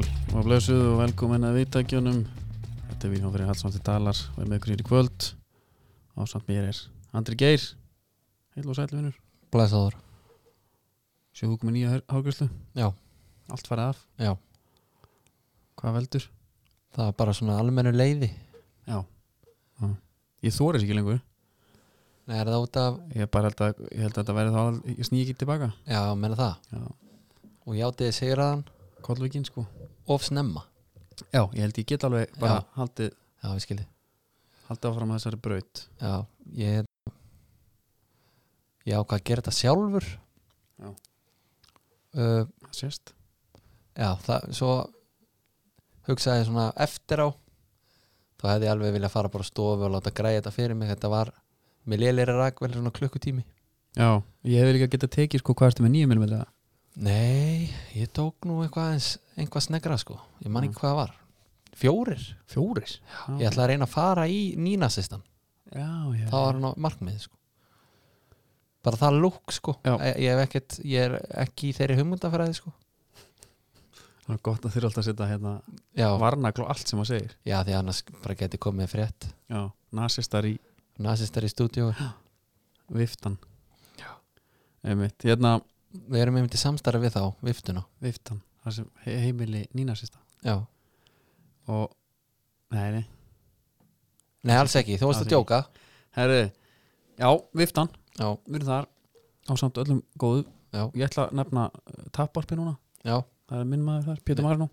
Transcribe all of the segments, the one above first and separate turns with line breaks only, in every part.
blessuð og velkomin að viðtækjunum Þetta er Vilhjón fyrir Hallsvandir Dalar og er með ykkur hér í kvöld og samt mér er Andri Geir Heil og sætlu vinnur
Blæsaður
Sjóðum með nýja hágjörslu
Já.
Allt farið af
Já.
Hvað veldur?
Það er bara svona almennu leiði
Já Ég þóri þess ekki lengur
Nei, er það út af
Ég, bara held að, ég held að þetta verði þá að ég sníki tilbaka
Já, menna það
Já
Og játiði sigraðan
Kollvíkinn sko
of snemma
Já Ég held ég get alveg bara haldið,
Já, ég skilji
haldið áfram að þessari braut
Já, ég Ég ákvað að gera þetta sjálfur
Já.
uh,
Það sést
Já, það Svo hugsaði ég svona eftir á Þá hefði ég alveg viljað fara bara á stofu og láta græja þetta fyrir mig Þetta var Mér lélir rakvel svona klukkutími
Já Ég hefði líka getað tekið sko hvað ertu með nýjum minnum
Nei, ég tók nú eitthvað eins, einhvað snegra sko Ég man
Mm.
ekki hvað það var Fjórir? Fjórir? Ég ætla að reyna að fara í nínasistan
Já, já
Það var hann á markmið sko Bara það lúk sko
Já.
ég, ég, hef ekkert, ég er ekki í þeirri hugmyndafræði sko
Það er gott að þurfa alltaf að setja hérna
Já,
varnagl og allt sem maður segir
já því annars bara geti komið frétt
Já, nasistar í
Nasistar í stúdíó
viftan Já Einmitt, hérna
Við erum einmitt í samstarfi við þá, viftuna
viftan Það sem he- heimili nínasista
Já,
Og, nei, nei
nei alls ekki, þú
Alls
varst að
ekki.
djóka
Herri, já, viftan
Já,
Við erum þar á samt öllum góðu
já,
Ég ætla að nefna uh, tapvarpi núna
já,
Það er minn maður þar, Pétur Marnó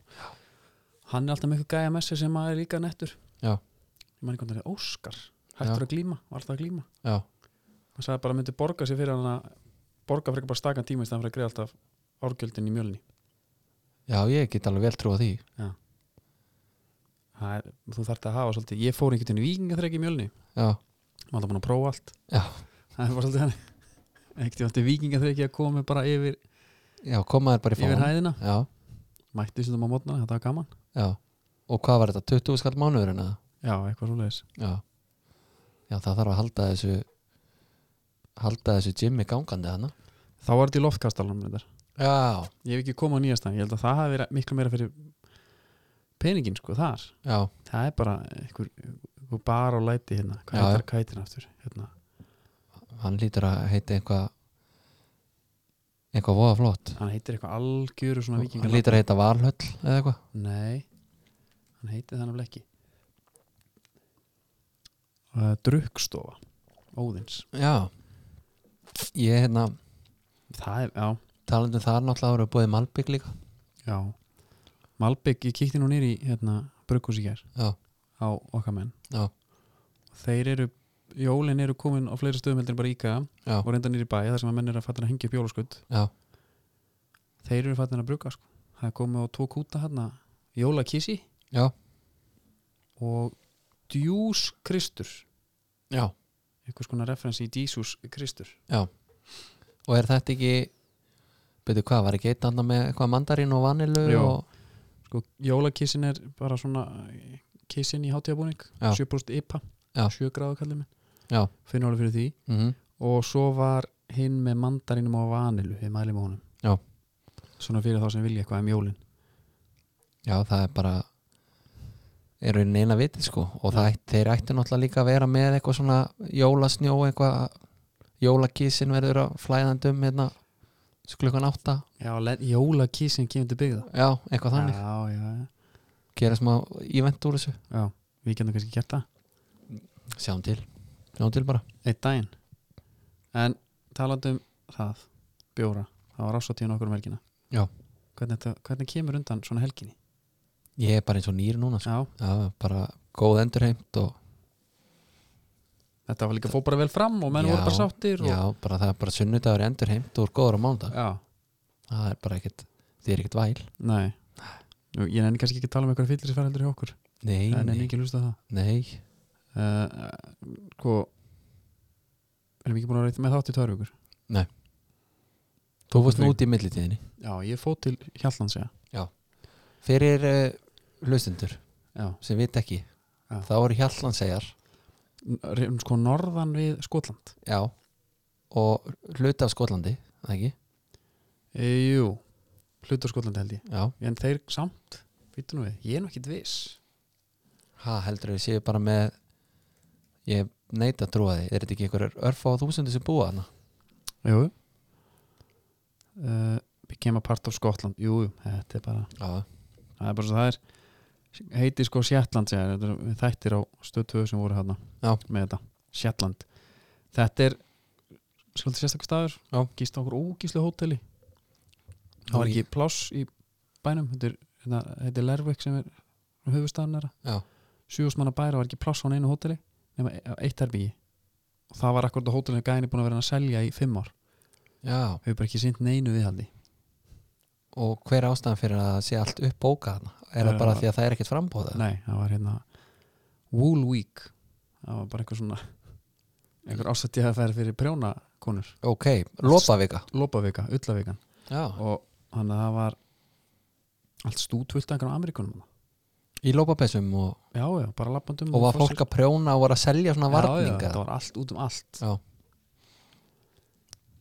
Hann er alltaf með eitthvað gæja messi sem maður er líka nettur
Já.
Ég man ekki hvað það er Óskar Hættur
Já.
að glíma, var alltaf að glíma
já
hann sagði bara að myndi borga sér fyrir hann að borga fyrir bara stakan tíma í stæðan fyrir að greiða alltaf árgjöldin í mjölni
Já, ég get alveg vel trúa því
er, þú þarft að hafa svolítið, ég fór einhvern veginn í vikingaþreki í mjölni,
Já,
maður alltaf búin að prófa allt
Já.
það var svolítið hann einhvern veginn átti vikingaþreki að koma mér bara yfir,
já, komaður bara í
yfir
fáum
hæðina
Já,
mætti sem það maður mótna, þetta var gaman
já Og hvað var þetta, 20 skall mánuðurinn eða?
já, eitthvað svoleiðis,
Já. Já, það þarf að halda þessu halda þessu gymmi gangandi hana
þá var þetta í loftkastalanum reyndar.
Já,
ég hef ekki komað á nýjastan, ég held að það hafi verið miklu meira fyrir peningin sko þar
já,
það er bara einhver, einhver bar á læti hérna,
Já,
hvað heitir- hvað heitir hann aftur hérna,
hann lítur að heita eitthvað eitthvað voða flott
hann heitir eitthvað algjöru svona
hann
vikingaland
lítur að heita Valhöll eða eitthvað
Nei, hann heitir þannig að ekki uh, Drukkstofa Óðins
Já, ég hérna
Það er, já,
talandi um það náttúrulega voru búið Malbygg líka
já Malbygg, ég kíkti nú nýri hérna, Brugghús í gær
Já.
á okkar menn
Já.
Þeir eru, jólin eru komin á fleiri stöðum heldur en bara íka
Já.
og reynda nýri bæ, þar sem að menn eru að fatta að hengja upp jólaskutt
Já.
Þeir eru fattin að brugga sko Það er komið á tvo kúta hérna Jólakissi
Já.
Og Djús Kristur
Já,
einhvers konar referensi í Dísus Kristur
og er þetta ekki betur hvað, var ekki eitt andan með eitthvað mandarín og vanilu
Jú.
og,
sko, jólakissin er bara svona eh, kissin í hátíðabúning
Já.
7% IPA,
Já.
7 gráðu kallið
Já.
minn finnur alveg fyrir því
mm
og svo var hinn með mandarinum og vanilu við mælum á honum
Já.
svona fyrir þá sem vilja eitthvað um jólin
Já, það er bara er einn eina vitið sko og það, ætti- þeir ættu náttúrulega líka að vera með eitthvað svona jólasnjó eitthvað jólakísin verður að flæðandum hérna svo klukkan átta
já, jólakissin kemur til byggða
já, eitthvað þannig,
já, já, já,
gera smá ívent úr þessu
já, við getum kannski gert það
sjáum um til, sjáum til bara
eitt daginn en talandi um það bjóra, það var ásatíðan okkur um helgina
Já.
hvernig, þetta, hvernig kemur undan svona helginni
ég er bara eins og nýr núna sko.
já,
já, bara góð endurheimt og
þetta var líka fór bara vel fram og menn
Já,
voru bara sáttir og,
já, bara það er bara sunnudagur endurheimt og góður á mándag,
já.
það er bara ekkit þið er ekkit væl,
Nei Nú, Ég nenni kannski ekki að tala um eitthvað fyllir sem fer heldur hjá okkur
nei,
Það nenni
nei,
ekki að hlusta á
nei.
það uh, Sko Erum ekki búin að reyta með þátt í tvær vikur
þú fost
Nei.
út í millitíðinni
Já, ég fótt til Hjalland segja
fyrir uh, hlustundur
Já,
sem vit ekki
Já.
þá eru Hjallandsegjar
N- re- sko norðan við Skotland
já, og hluti af Skotlandi er það ekki,
Eh, e, Jú, hlutur Skotlandi held
já,
ég En þeir samt býttu nú við, ég er nú ekkit viss
Ha, heldur þau séu bara með ég neita að trúa því er þetta ekki einhverjur örfa á þúsundu sem búa hana
Jú uh, Became a part of Scotland Jú, jú, þetta er bara
Já,
það er bara svo það er heiti sko Shetland segir, þetta eru þættir á stöðtöðu sem voru hérna
Já.
með þetta, Shetland þetta er svolítið sérstakur staður
Já.
gist á okkur ógíslu hóteli það var ekki pláss í bænum þetta er, hérna, þetta er Lervik sem er höfustafn er
já,
sjúðusmanna bæra var ekki pláss á neinu hóteli nema e- á eitt erbyggi og það var akkurat á hótelinu gæðinni búin að vera að selja í fimm ár,
já
hefur bara ekki sýnt neinu viðhaldi
og hver er ástæðan fyrir að það sé allt upp bóka hana er
Já.
það bara því að það er ekkert frambóð eða?
Nei, það var hérna Wool Week það var bara einhver svona einhver ástætti að færa fyrir prjónakonur
ok, lopavika
Lopavika, Ullavikan
já.
og þannig að það var allt stútvöld af einhverjum Amerikunum
í lopapessum og,
Já, já, bara lappandum
og var fólk að prjóna og var að selja svona
Mm, Já, já,
varninga
þetta var allt út um allt
Já.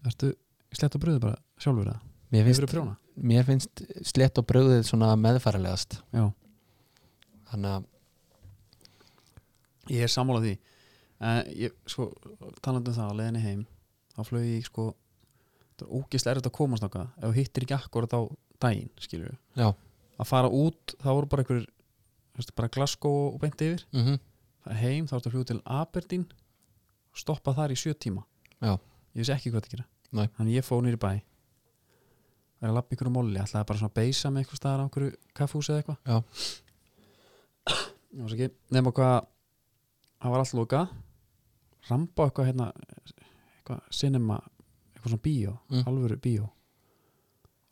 Ertu slett og bröðu bara sjálfur það?
mér,
Hefur
finnst,
prjóna?
mér finnst slett og bröðið svona meðfærilegast
Já,
þannig að
ég er sammála því en ég, sko, talandi um það á leiðinni heim þá flög ég sko það er ógeðslega erfitt að komast nokkað ef þú hittir ekki akkurat á daginn, skilur
já,
að fara út, þá voru bara einhver veistu, bara Glasgow og beint yfir
mm
Fara heim, þá ertu að fljóð til Aberdeen stoppa þar í sjö tíma
Já.
ég vissi ekki hvað það gera
Nei.
þannig ég fóð nýri bæ er að lappa ykkur um molli, ætlaði bara svona að beisa með eitthvað staðar á einhverju kaffúsi eða
Já.
eitthvað já svo ekki, nema hvað það var allt loka ramba á eitthvað hérna eitthvað cinema, eitthvað svona bíó
Mm.
alvöru bíó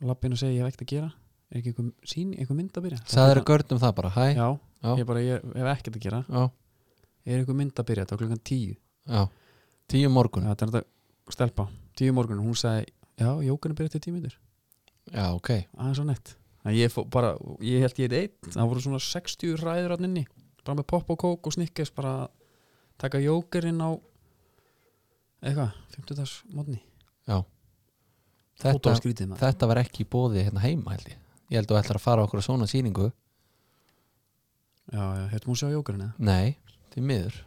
lappa inn og segja ég hef ekkert að gera er ekki eitthvað, sín, eitthvað mynd að byrja Hérna-
sagður görnum það bara, hæ
já,
Já.
ég bara ég, hef ekkert að gera
já,
er einhver mynd að byrja þetta á klukkan tíu
já. tíu um morgun
þetta er þetta stelpa, tíu morgun hún sagði, já, jókan er byrjað til tíu myndir
já, ok,
aðeins á nett Þannig að ég, fó, bara, ég held ég eitt einn það voru svona 60 ræður hann inni bara með popp og kók og snikkes bara að taka jókerinn á eitthvað, 50 dags mótni
þetta,
skrítið maður
þetta var ekki í bóði hérna heima held ég ég held að þú ætlar að fara á okkur á svona sýningu
já, já, hefði múið sjá jókerinn eða
nei, því miður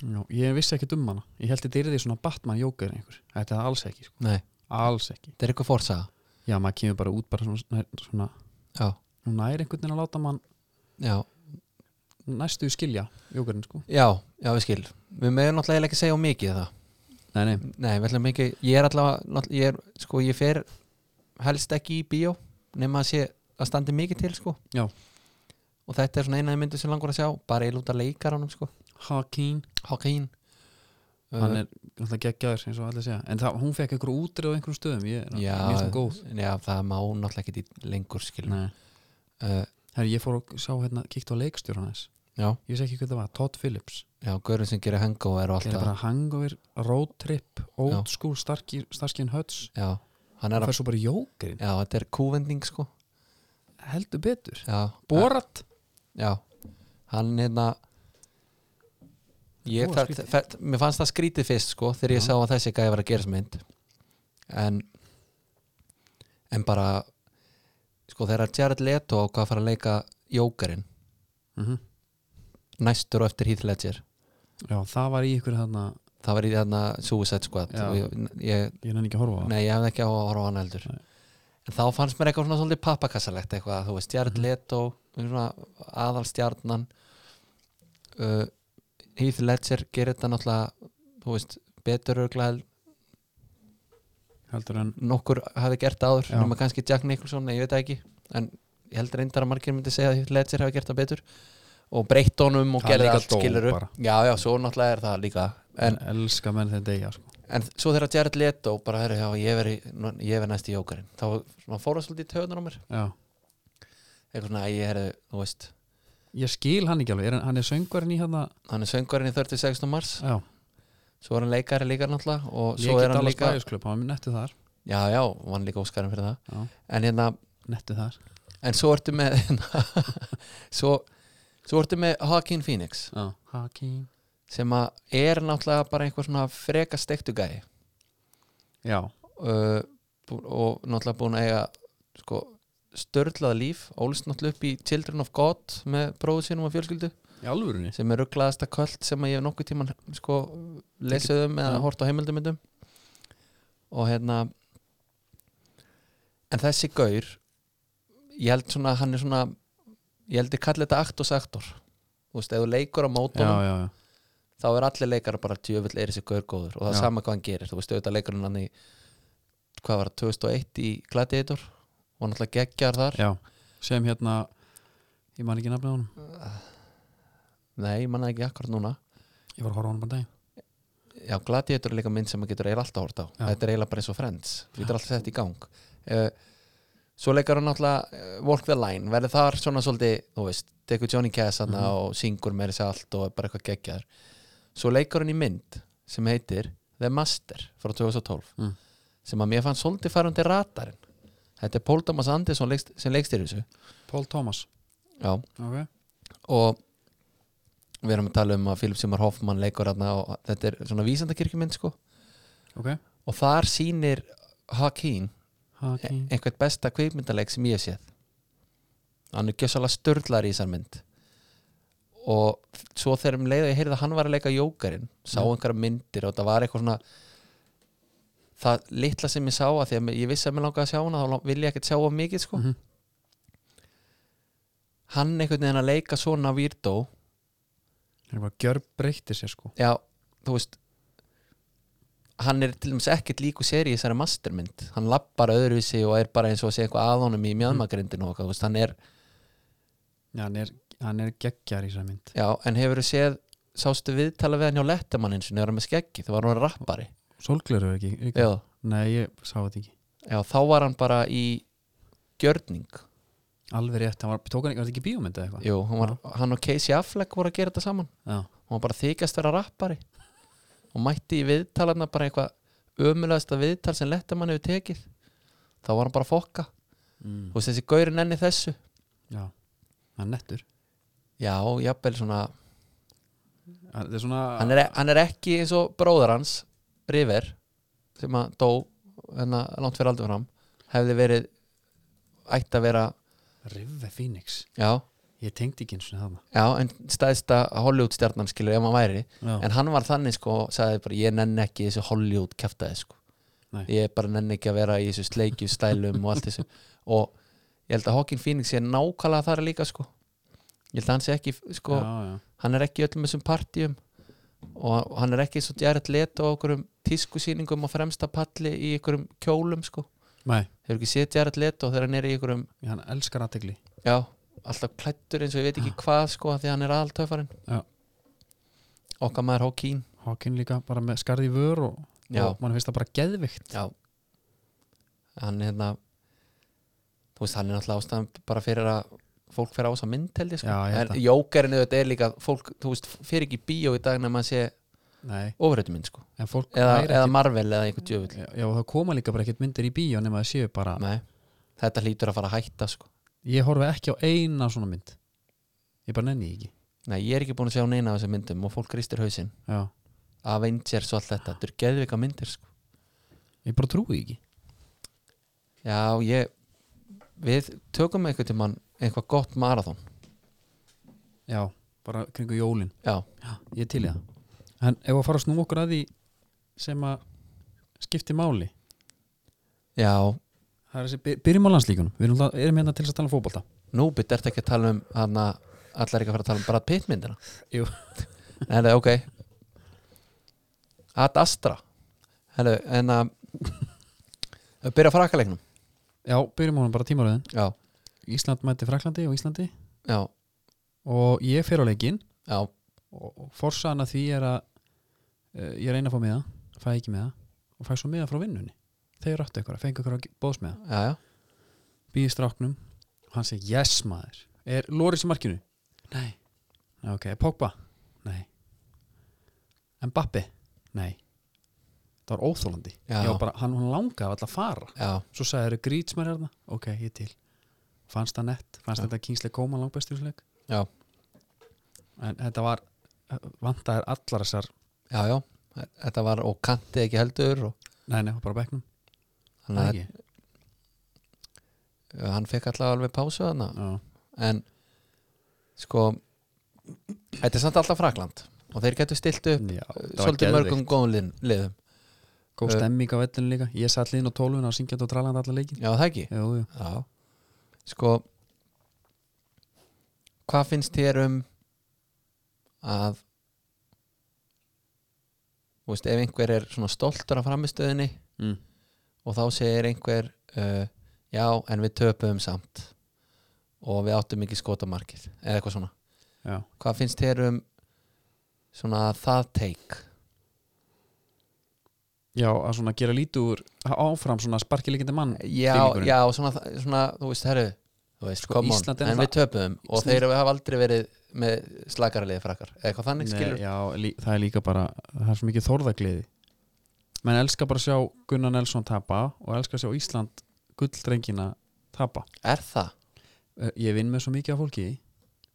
já, ég vissi ekki um hana, ég held þetta er því svona Batman jókerinn einhver, þetta er alls ekki sko.
nei,
alls ekki,
þetta er eitthvað forsaga
já, maður kemur bara út bara svona, svona
já,
hún er einhvern veginn að láta mann
já,
næstu skilja jókerinn sko
já, já, við skil við meðum náttúrulega ekki segja á mikið það
nei, nei.
nei, við ætlum ekki, ég er allavega náttúrulega- ég er, sko, ég fer helst ekki í bíó nema að sé að standi mikið til, sko
Já.
og þetta er svona eina myndu sem langur að sjá bara ég lúta leikaranum, sko Uh,
Hakeem
Hákín
hann er náttúrulega geggjaður eins og allir segja en það, hún fekk einhverju útrið á einhverjum stöðum ég,
já,
mér finnst hún góð
já, það má náttúrulega ekki í lengur, skil
Nei.
uh,
Herri, ég fór og sjá hérna, kíkt á leikstjóran þess
já,
ég vissi ekki hvað það var, Todd Phillips
já, gaurinn sem gerir hangover og allt
það er
það
bara hangover, road trip old school, Starkey- Starsky and Hutch
já, hann er
það
að,
er svo bara í jókerinn
já, þetta er kúvending, sko
heldur betur,
já, eh,
borat
Já, hann hérna ég,
Voða
það,
skrítið.
það, mér fannst það skrítið fyrst sko þegar ég
Já.
sá að þessi gæði var að gera sem mynd en en bara sko þegar Jared Leto á hvað fara að leika Jókerinn
mm
Mhm. næstur og eftir Heath Ledger
já, það var í ykkur þarna
það var í þarna Suicide Squad
Já.
og ég, ég,
ég nenni ekki að horfa á það
nei, ég hefði ekki á að horfa á hann heldur
Nei.
en þá fannst mér eitthvað svona svolítið pappakassalegt eitthvað, þú veist,
Mhm.
Jared Leto svona aðalstjarnan uh, Heath Ledger gerir þetta náttúrulega þú veist, betur örglega
heldur en,
nokkur hafi gert áður,
Já.
nema kannski Jack Nicholson, nei, ég veit það ekki en ég held reyndar að margir myndi segja að Heath Ledger hafi gert það betur og breytt honum og
Hann
gerði
líka
allt
dó
skiluru
bara.
já, já, svo náttúrulega er það líka en,
en elska menn þegar degja sko.
en svo þegar Jared Leto bara, heru, já, ég veri, nú- ég veri næst í jókarinn þá svona, fór það svolítið í töðunar á mér
já.
eitthvað svona, æ, ég herði, þú veist
ég skil hann ekki alveg, er, hann- hann er söngvarinn í hérna
hann er söngvarinn í 36. mars
já,
svo er hann leikari líka náttúrulega og svo
ég
er
get
hann
alveg sko.
líka
spæðisklub, hann er nettu þar
já, já, og hann er líka óskarinn fyrir það
já,
en hérna,
nettu þar
en svo ertu með hérna, svo, svo ertu með Hawking Phoenix
Hakeem
sem að er náttúrulega bara einhver svona freka stektugæði
Já,
uh, bú- og náttúrulega búin að eiga sko, störlað líf ólst náttúrulega upp í Children of God með bróðu sínum og fjölskyldu
í alvörunni
sem er rugglaðasta kvöld sem að ég hef nokkuð tíman sko, lesið um eða
Já.
hort á heimildumyndum og hérna en þessi gaur ég held svona, hann er svona ég held ég kalli þetta aktos aktor þú veist, ef þú leikur á
já,
mótunum
já, já,
þá er allir leikar bara tjöfull er þessi gaur góður og það
Já.
er sama hvað hann gerir, þú veist, auðvitað leikurinn hann í hvað var það, 2001 í Gladiator og náttúrulega geggjar þar
já sem hérna ég man ekki nafnið á honum
nei, ég manna ekki akkurat núna
ég var að horfa á honum bara daginn
Já, Gladiator er líka mynd sem maður getur eiginlega alltaf hort á
Já.
Þetta er eiginlega bara eins og Friends Þú getur alltaf sett í gang uh, Svo leikar hann náttúrulega uh, Walk the Line Verður þar svona svolítið, þú veist Tekur Johnny Cass hana
Mhm.
og syngur með þessi allt og er bara eitthvað geggjaður Svo leikar hann í mynd sem heitir The Master frá 2012
Mm.
sem að mér fannst svolítið farandi ratarinn Þetta er Paul Thomas Anderson leikst, sem leikstýr þessu
Paul Thomas
Já
ok
og við erum að tala um að Philip Seymour Hoffman leikur hana og þetta er svona vísandakirkjumynd sko
ok
og þar sýnir Hakeem
Haki
einhvern besta kveikmyndaleik sem ég hef séð hann er gjössalega störlar í þessar mynd og svo þegar um leið og ég heyrði að hann var að leika jókarinn sá
Mm.
einhverja myndir og það var eitthvað svona það litla sem ég sá að því að mér- ég vissi að mér langaði að sjá hana þá lang- vil ég ekkert sjá of mikið sko
Mhm.
hann einhvern veginn að leika svona výrdó
hann er bara gjör breytti sér sko
já, þú veist hann er til dæmis ekkert líku sér í þessari mastermynd hann lappar öðruvísi og er bara eins og að segja eitthvað að honum í mjöðmagrindin og eitthvað, þú veist, hann er,
já, hann er, hann er geggjar í þessari mynd
já, en hefur þú séð sástu viðtala við hann hjá Letterman eins og hann var með skeggi, það var hann rappari
Solgleru ekki, ekki?
já,
nei, ég sá þetta ekki
já, þá var hann bara í gjörning,
alveg rétt, hann var, tók hann ekki, var þetta ekki bíómynd eða eitthvað
jú, hann, var, hann og Casey Affleck voru að gera þetta saman
já,
og hann bara þykjast vera rappari og mætti í viðtalarna bara eitthvað ömulegasta viðtal sem Letterman hefur tekið þá var hann bara að fokka
mm.
þú veist þessi gauri nenni þessu
já hann er nettur
já, jafnvel svona
hann, þetta er svona,
hann er, e- hann er ekki eins og bróðar hans River sem að dó hennar langt fyrir aldur fram hefði verið ætti að vera
Rive Phoenix
já,
ég tengdi ekki eins og það
já, en staðista Hollywood stjarnan skilur ef hann væri
já,
en hann var þannig sko, sagði bara ég nenni ekki þessu Hollywood kæftaði sko
Nei.
ég bara nenni ekki að vera í þessu sleikju stælum og allt þessu og ég held að Hawking Phoenix sé nákvæmlega þar líka sko ég held að hann sé ekki sko
já, já.
hann er ekki í öllum þessum partíum og hann er ekki eins og Jared Leto á okkurum tískusýningum og fremsta palli í einhverjum kjólum sko
Nei,
hefur ekki séð Jared Leto þegar hann er í einhverjum
hann elskar aðtegli
já, alltaf klættur eins og ég veit ekki hvað sko af því að hann er aðaltöfarinn
Ah. Já.
okkar maður Hókín
Hawking líka bara með skarði vör og,
Já.
og mann finnst það bara geðvikt
já hann er hérna þú veist hann er náttúrulega ástæðan bara fyrir að fólk fyrir á þess að mynd held ég sko
Já, ég held
en
að.
jókarinn auðvitað er líka fólk, þú veist, fyrir ekki í bíó í dag nema að sé
Nei,
ofrættu mynd sko
en fólk
eða,
væri
eða Marvel eða einhver djöfull
ekki, já, og það koma líka bara ekkert myndir í bíó nema það séu bara,
Nei, þetta hlýtur að fara að hætta sko.
ég horfi ekki á eina svona mynd ég bara nenni því ekki
Nei, ég er ekki búin að sjá neina á þessum myndum og fólk kristir hausinn
já,
Avengers og allt þetta, þetta eru geðvika myndir sko.
ég bara trúi því ekki
Já, ég við tökum einhvern tímann einhvað gott marathon
já, bara kringu jólin
Já,
ég er til í það en ef að fara að snúa okkur að því sem að skipti máli
já,
það er þessi, by- byrjum á landslíkunum við erum, alltaf- erum hérna til þess að tala um fótbolta
núbytt ertu ekki að tala um hana, allar ekki að fara að tala um Brad Pitt myndina
Jú.
Nei, nei, ok Ad Astra Hello, en að byrja að fraka leiknum
já, byrjum á hann bara tímaröðin
Já,
Ísland mæti Fraklandi og Íslandi
já,
og ég fer á leikinn
já,
og, og forsaðan að því er að uh, ég reyna að fá miða, fæ ekki miða og fæ svo miða frá vinnunni þeir ráttu ykkur að fengu ykkur að bóðs miða
já, já.
býði stráknum og hann segir yes maður er Loris í markinu? Nei Já, ok, er Pogba? Nei Mbappi? Nei það var óþólandi
Já.
ég var bara, hann, hann langaði alltaf að fara
já.
svo sagði þeir Grítsmar hérna ok, ég er til fannst það nett, fannst
Já.
þetta Kingsleik Koma langbæsturleik
Já.
en þetta var vantaðir allar þessar
já, já, þetta var og kanti ekki heldur og
nei, nei, bara á bekknum
þannig að
Ekki.
hann fekk allavega alveg pásu þarna
já,
en sko þetta er samt alltaf Frakland og þeir getur stilt upp eh,
já það var
svolítið
geðveikt.
mörgum góðum liðum- liðum
Góð
Eh.
stemming á vellinu líka Ég satt liðin á tólfuna og syngjandi og trallandi allar leikin
já það ekki
Jú, jú
já. sko hvað finnst þér um að þú veist ef einhver er svona stoltur af framistöðinni
mm.
og þá segir einhver uh, já en við töpuðum samt og við áttum ekki skotamarkið eða eitthvað svona
Já
hvað finnst þér um svona það teik
Já, að svona gera lítið úr áfram svona sparkileikindi mann
já,
Feelingurinn.
já svona, svona þú veist, herru þú veist,
Sko,
come on,
Ísland er
en við töpuðum og
Ísland-
þeir hafa aldrei verið með slagaraliði frakkar, eða eitthvað þannig skilur
já, lí, það er líka bara það er svo mikið þorðagliði menn elskar bara að sjá Gunnar Nelson tapa og elskar að sjá Ísland gulldrengina tapa
er það?
Eh, ég vinn með svo mikið af fólki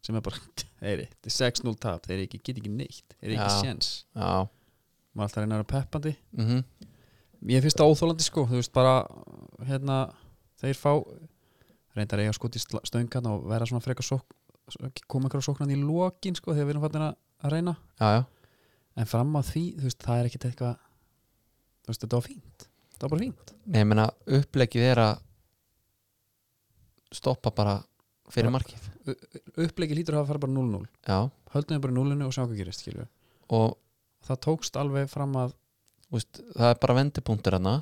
sem er bara, heyri, þetta er 6-0 tap þeir eru ekki, get ekki neitt, þeir eru ekki
Já.
séns
já,
maður alltaf reynir að vera peppandi
mm
ég finnst það óþólandi sko, þú veist bara hérna, þeir fá reyndar eiga skot í sl- stöngan og vera svona frekar sók, koma ykkur á sóknan í lokin sko, þegar við erum fattin að reyna
já, já,
en fram að því, þú veist, það er ekkit eitthvað þú veist, þetta var fínt það var bara fínt
Nei, ég meina upplegið er að stoppa bara fyrir markið
upplegið lítur að hafa farið bara 0-0
já,
höldum við bara í 0-0 og sjá hvað gerist, skilju
og
það tókst alveg fram að
úst, það er bara vendipunktur hana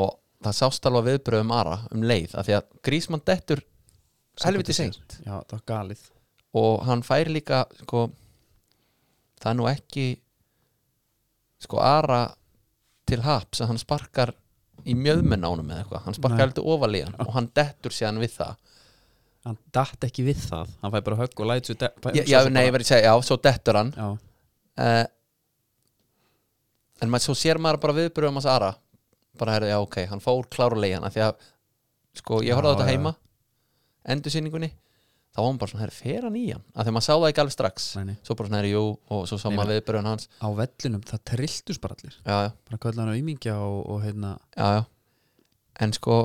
og það sást alveg á viðbrögum Ara um leið, af því að Grísmann dettur helviti
Sekúndu
seint
já, það var galið
og hann fær líka sko, það er nú ekki sko Ara til haps að hann sparkar í mjöðmenn ánum eða eitthvað, hann sparkar
Nei.
heldur ofal í hann og hann dettur síðan við það
hann datt ekki við það, hann fæði bara högg og læt svo de- fæ-
já,
hugsa
já,
sér
nei, ég
bara-
verið að segja, já, svo dettur hann
já,
uh, en maður svo sér maður bara viðbröðum hans Ara bara herði, já, ok, hann fór klárlega hann af því að, sko, ég horfði á
Já,
þetta
já,
heima endursýningunni þá var hann bara svona, herri, fer hann í hann af því að maður sá það ekki alveg strax
nei, nei.
svo bara svona, herri, jú, og svo sá
Nei,
maður viðbröðun hans
á vellinum, það trilltus bara allir
já, já,
bara kallar hann auðmingja og, og hérna
já, já en sko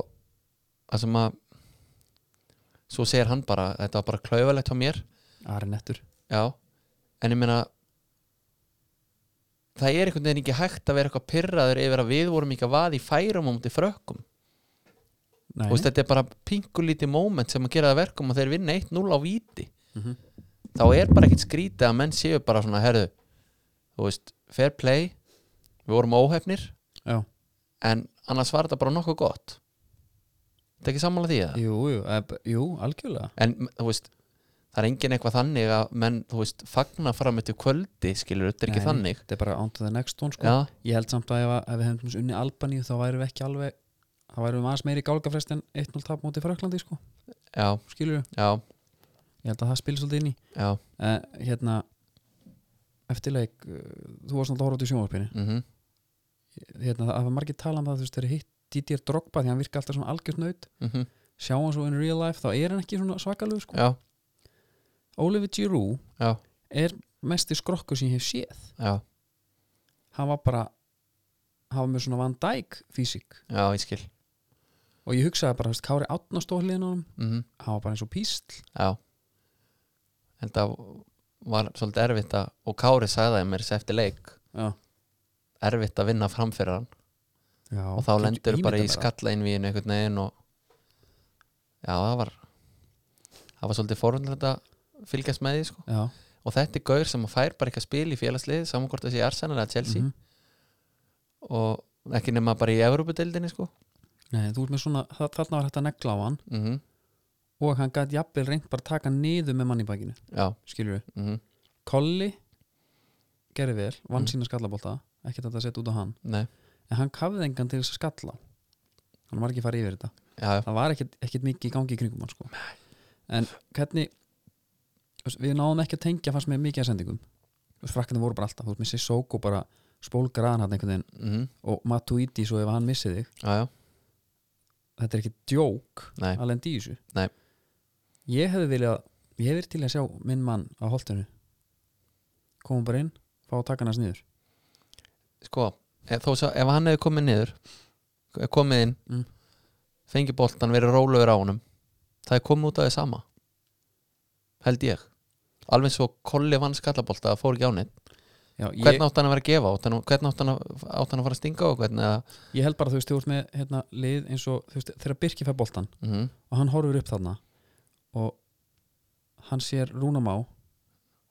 það sem að svo segir hann bara, þetta var bara klaufalegt á mér
Ari Nettur
já, en ég meina það er einhvern veginn ekki hægt að vera eitthvað pyrraður yfir að við vorum ekki að vaða í færum á múti frökkum
nei,
Þú veist, þetta er bara pingulítið moment sem að gera það verkum og þeir vinna 1-0 á víti
Mhm.
þá er bara ekkert skrítið að menn séu bara svona, herðu þú veist, fair play við vorum óhefnir
já,
en annars var þetta bara nokkuð gott þetta er ekki sammála því eða?
jú, jú, eb, jú, algjörlega
en þú veist, það er engin eitthvað þannig að menn, þú veist, fagna fram eftir kvöldi, skilur, þetta er ekki
Nei, nei,
þannig
þetta er bara ándu það next one sko
já,
Ég held samt að ef, að- ef við hefum til dæmis unni Albaníu þá værum við ekki alveg þá værum við aðeins meiri gálgafrest en 1-0 tap móti Fraklandi sko,
já,
skilur við
já,
ég held að það spilir svolítið inn í
já
eh, hérna, eftirleik eh, þú varst náttúrulega að horfa út í sjónvarpinu
mm
hérna, það var margir tala um það, þú veist, þeir hitt Didier Drogba því hann virka alltaf svona algjörst naut sjá hann svo in real life, þá er hann ekki svona svakalug sko.
mhm, já,
Oliver Giroud
já,
er mesti skrokku sem ég hef séð
já,
hann var bara hann var með svona Van Dijk físik
já, ég skil
og ég hugsaði bara, þú veist, Kári Átnastóhliðin á hann
mm
hann var bara eins og písl
já en það var svolítið erfitt að og Kári sagði það mér þessi eftir leik
já.
erfitt að vinna fram fyrir hann
Já,
og þá
getur
lendur bara í
ímyndað þér
skalla innvíinu einhvern veginn og já, það var það var svolítið forunlega að fylgjast með því sko.
það. Já,
og þetta er gaur sem að fær bara eitthvað spil í félagslið saman hvort þessi Arsenal eða Chelsea
mhm.
og ekki nema bara í Evrópudeildinni sko.
Nei, þú ert með svona, þa- þarna var hægt að negla á hann
mm
og hann gæti jafnvel reynt bara að taka hann niður með mann í bakinu
já,
skilur við,
mm
Kolli gerði vel, vann
Mm.
sína skallabólta ekki þetta að setja út á hann
nei
en hann kafði engan til þess að skalla á. hann var ekki að fara yfir þetta
já, já,
það var ekkit, ekkit mikið í gangi í kringum hann sko. en hvernig þú veist, við náðum ekki að tengja fannst með mikið að sendingum frakkandi voru bara alltaf, þú veist, með Sissoko bara spólgraðan hann einhvern veginn
mm
og Matuidi svo ef hann missið þig
já, já,
þetta er ekki djók
nei
að lendi í þessu
Nei.
ég hefði viljað ég hefði verið til að sjá minn mann á holtinu koma bara inn, fá að taka hans niður
sko, ef, þó, svo, ef hann hefði komið niður komið inn
Mm.
fengi boltan, verið rólegur á honum það er komið út af því sama held ég alveg eins og kolli vann skallabolta það fór ekki á neitt,
Já, ég,
hvernig átt hann að vera að gefa átt hann, hvernig átt hann, að, átt hann að fara að stinga og hvernig að
ég held bara þú veist, þú ert með hérna, lið eins og þú veist, þegar Birki fær boltan
mhm,
og hann horfir upp þarna og hann sér Rúnamá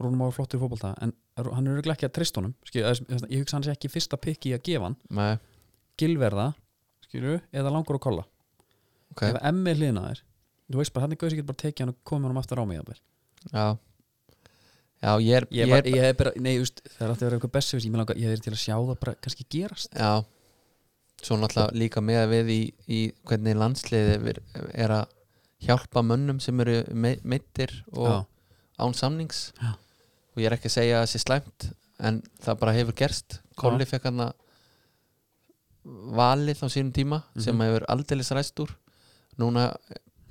Rúnamá er flottur í fótbolta en Rú- hann er örugglega ekki að trist honum skilur, eða, þess- ég hugsa hann sé ekki fyrsta pikki í að gefa hann
nei,
gilverða, skilur, eða langur að kolla
ok,
ef emmi er hliðina á þér þú veist bara, hann er gauð sem getur bara tekið hann og komið hann aftur á mig jafnvel.
já já, ég er,
ég, ég, ég er bara, nei, just, það er alltaf að vera eitthvað bessi ég, mig langar- ég er til að sjá það bara kannski gerast
Já Svo náttúrulega líka með að við í, í hvernig landsliði er, er að hjálpa mönnum sem eru me- meiddir og
Já.
án samnings
Já.
og ég er ekki að segja að það sé slæmt en það bara hefur gerst Kolli fekk hann valið á sínum tíma sem
Mhm.
hefur aldeilis ræst úr núna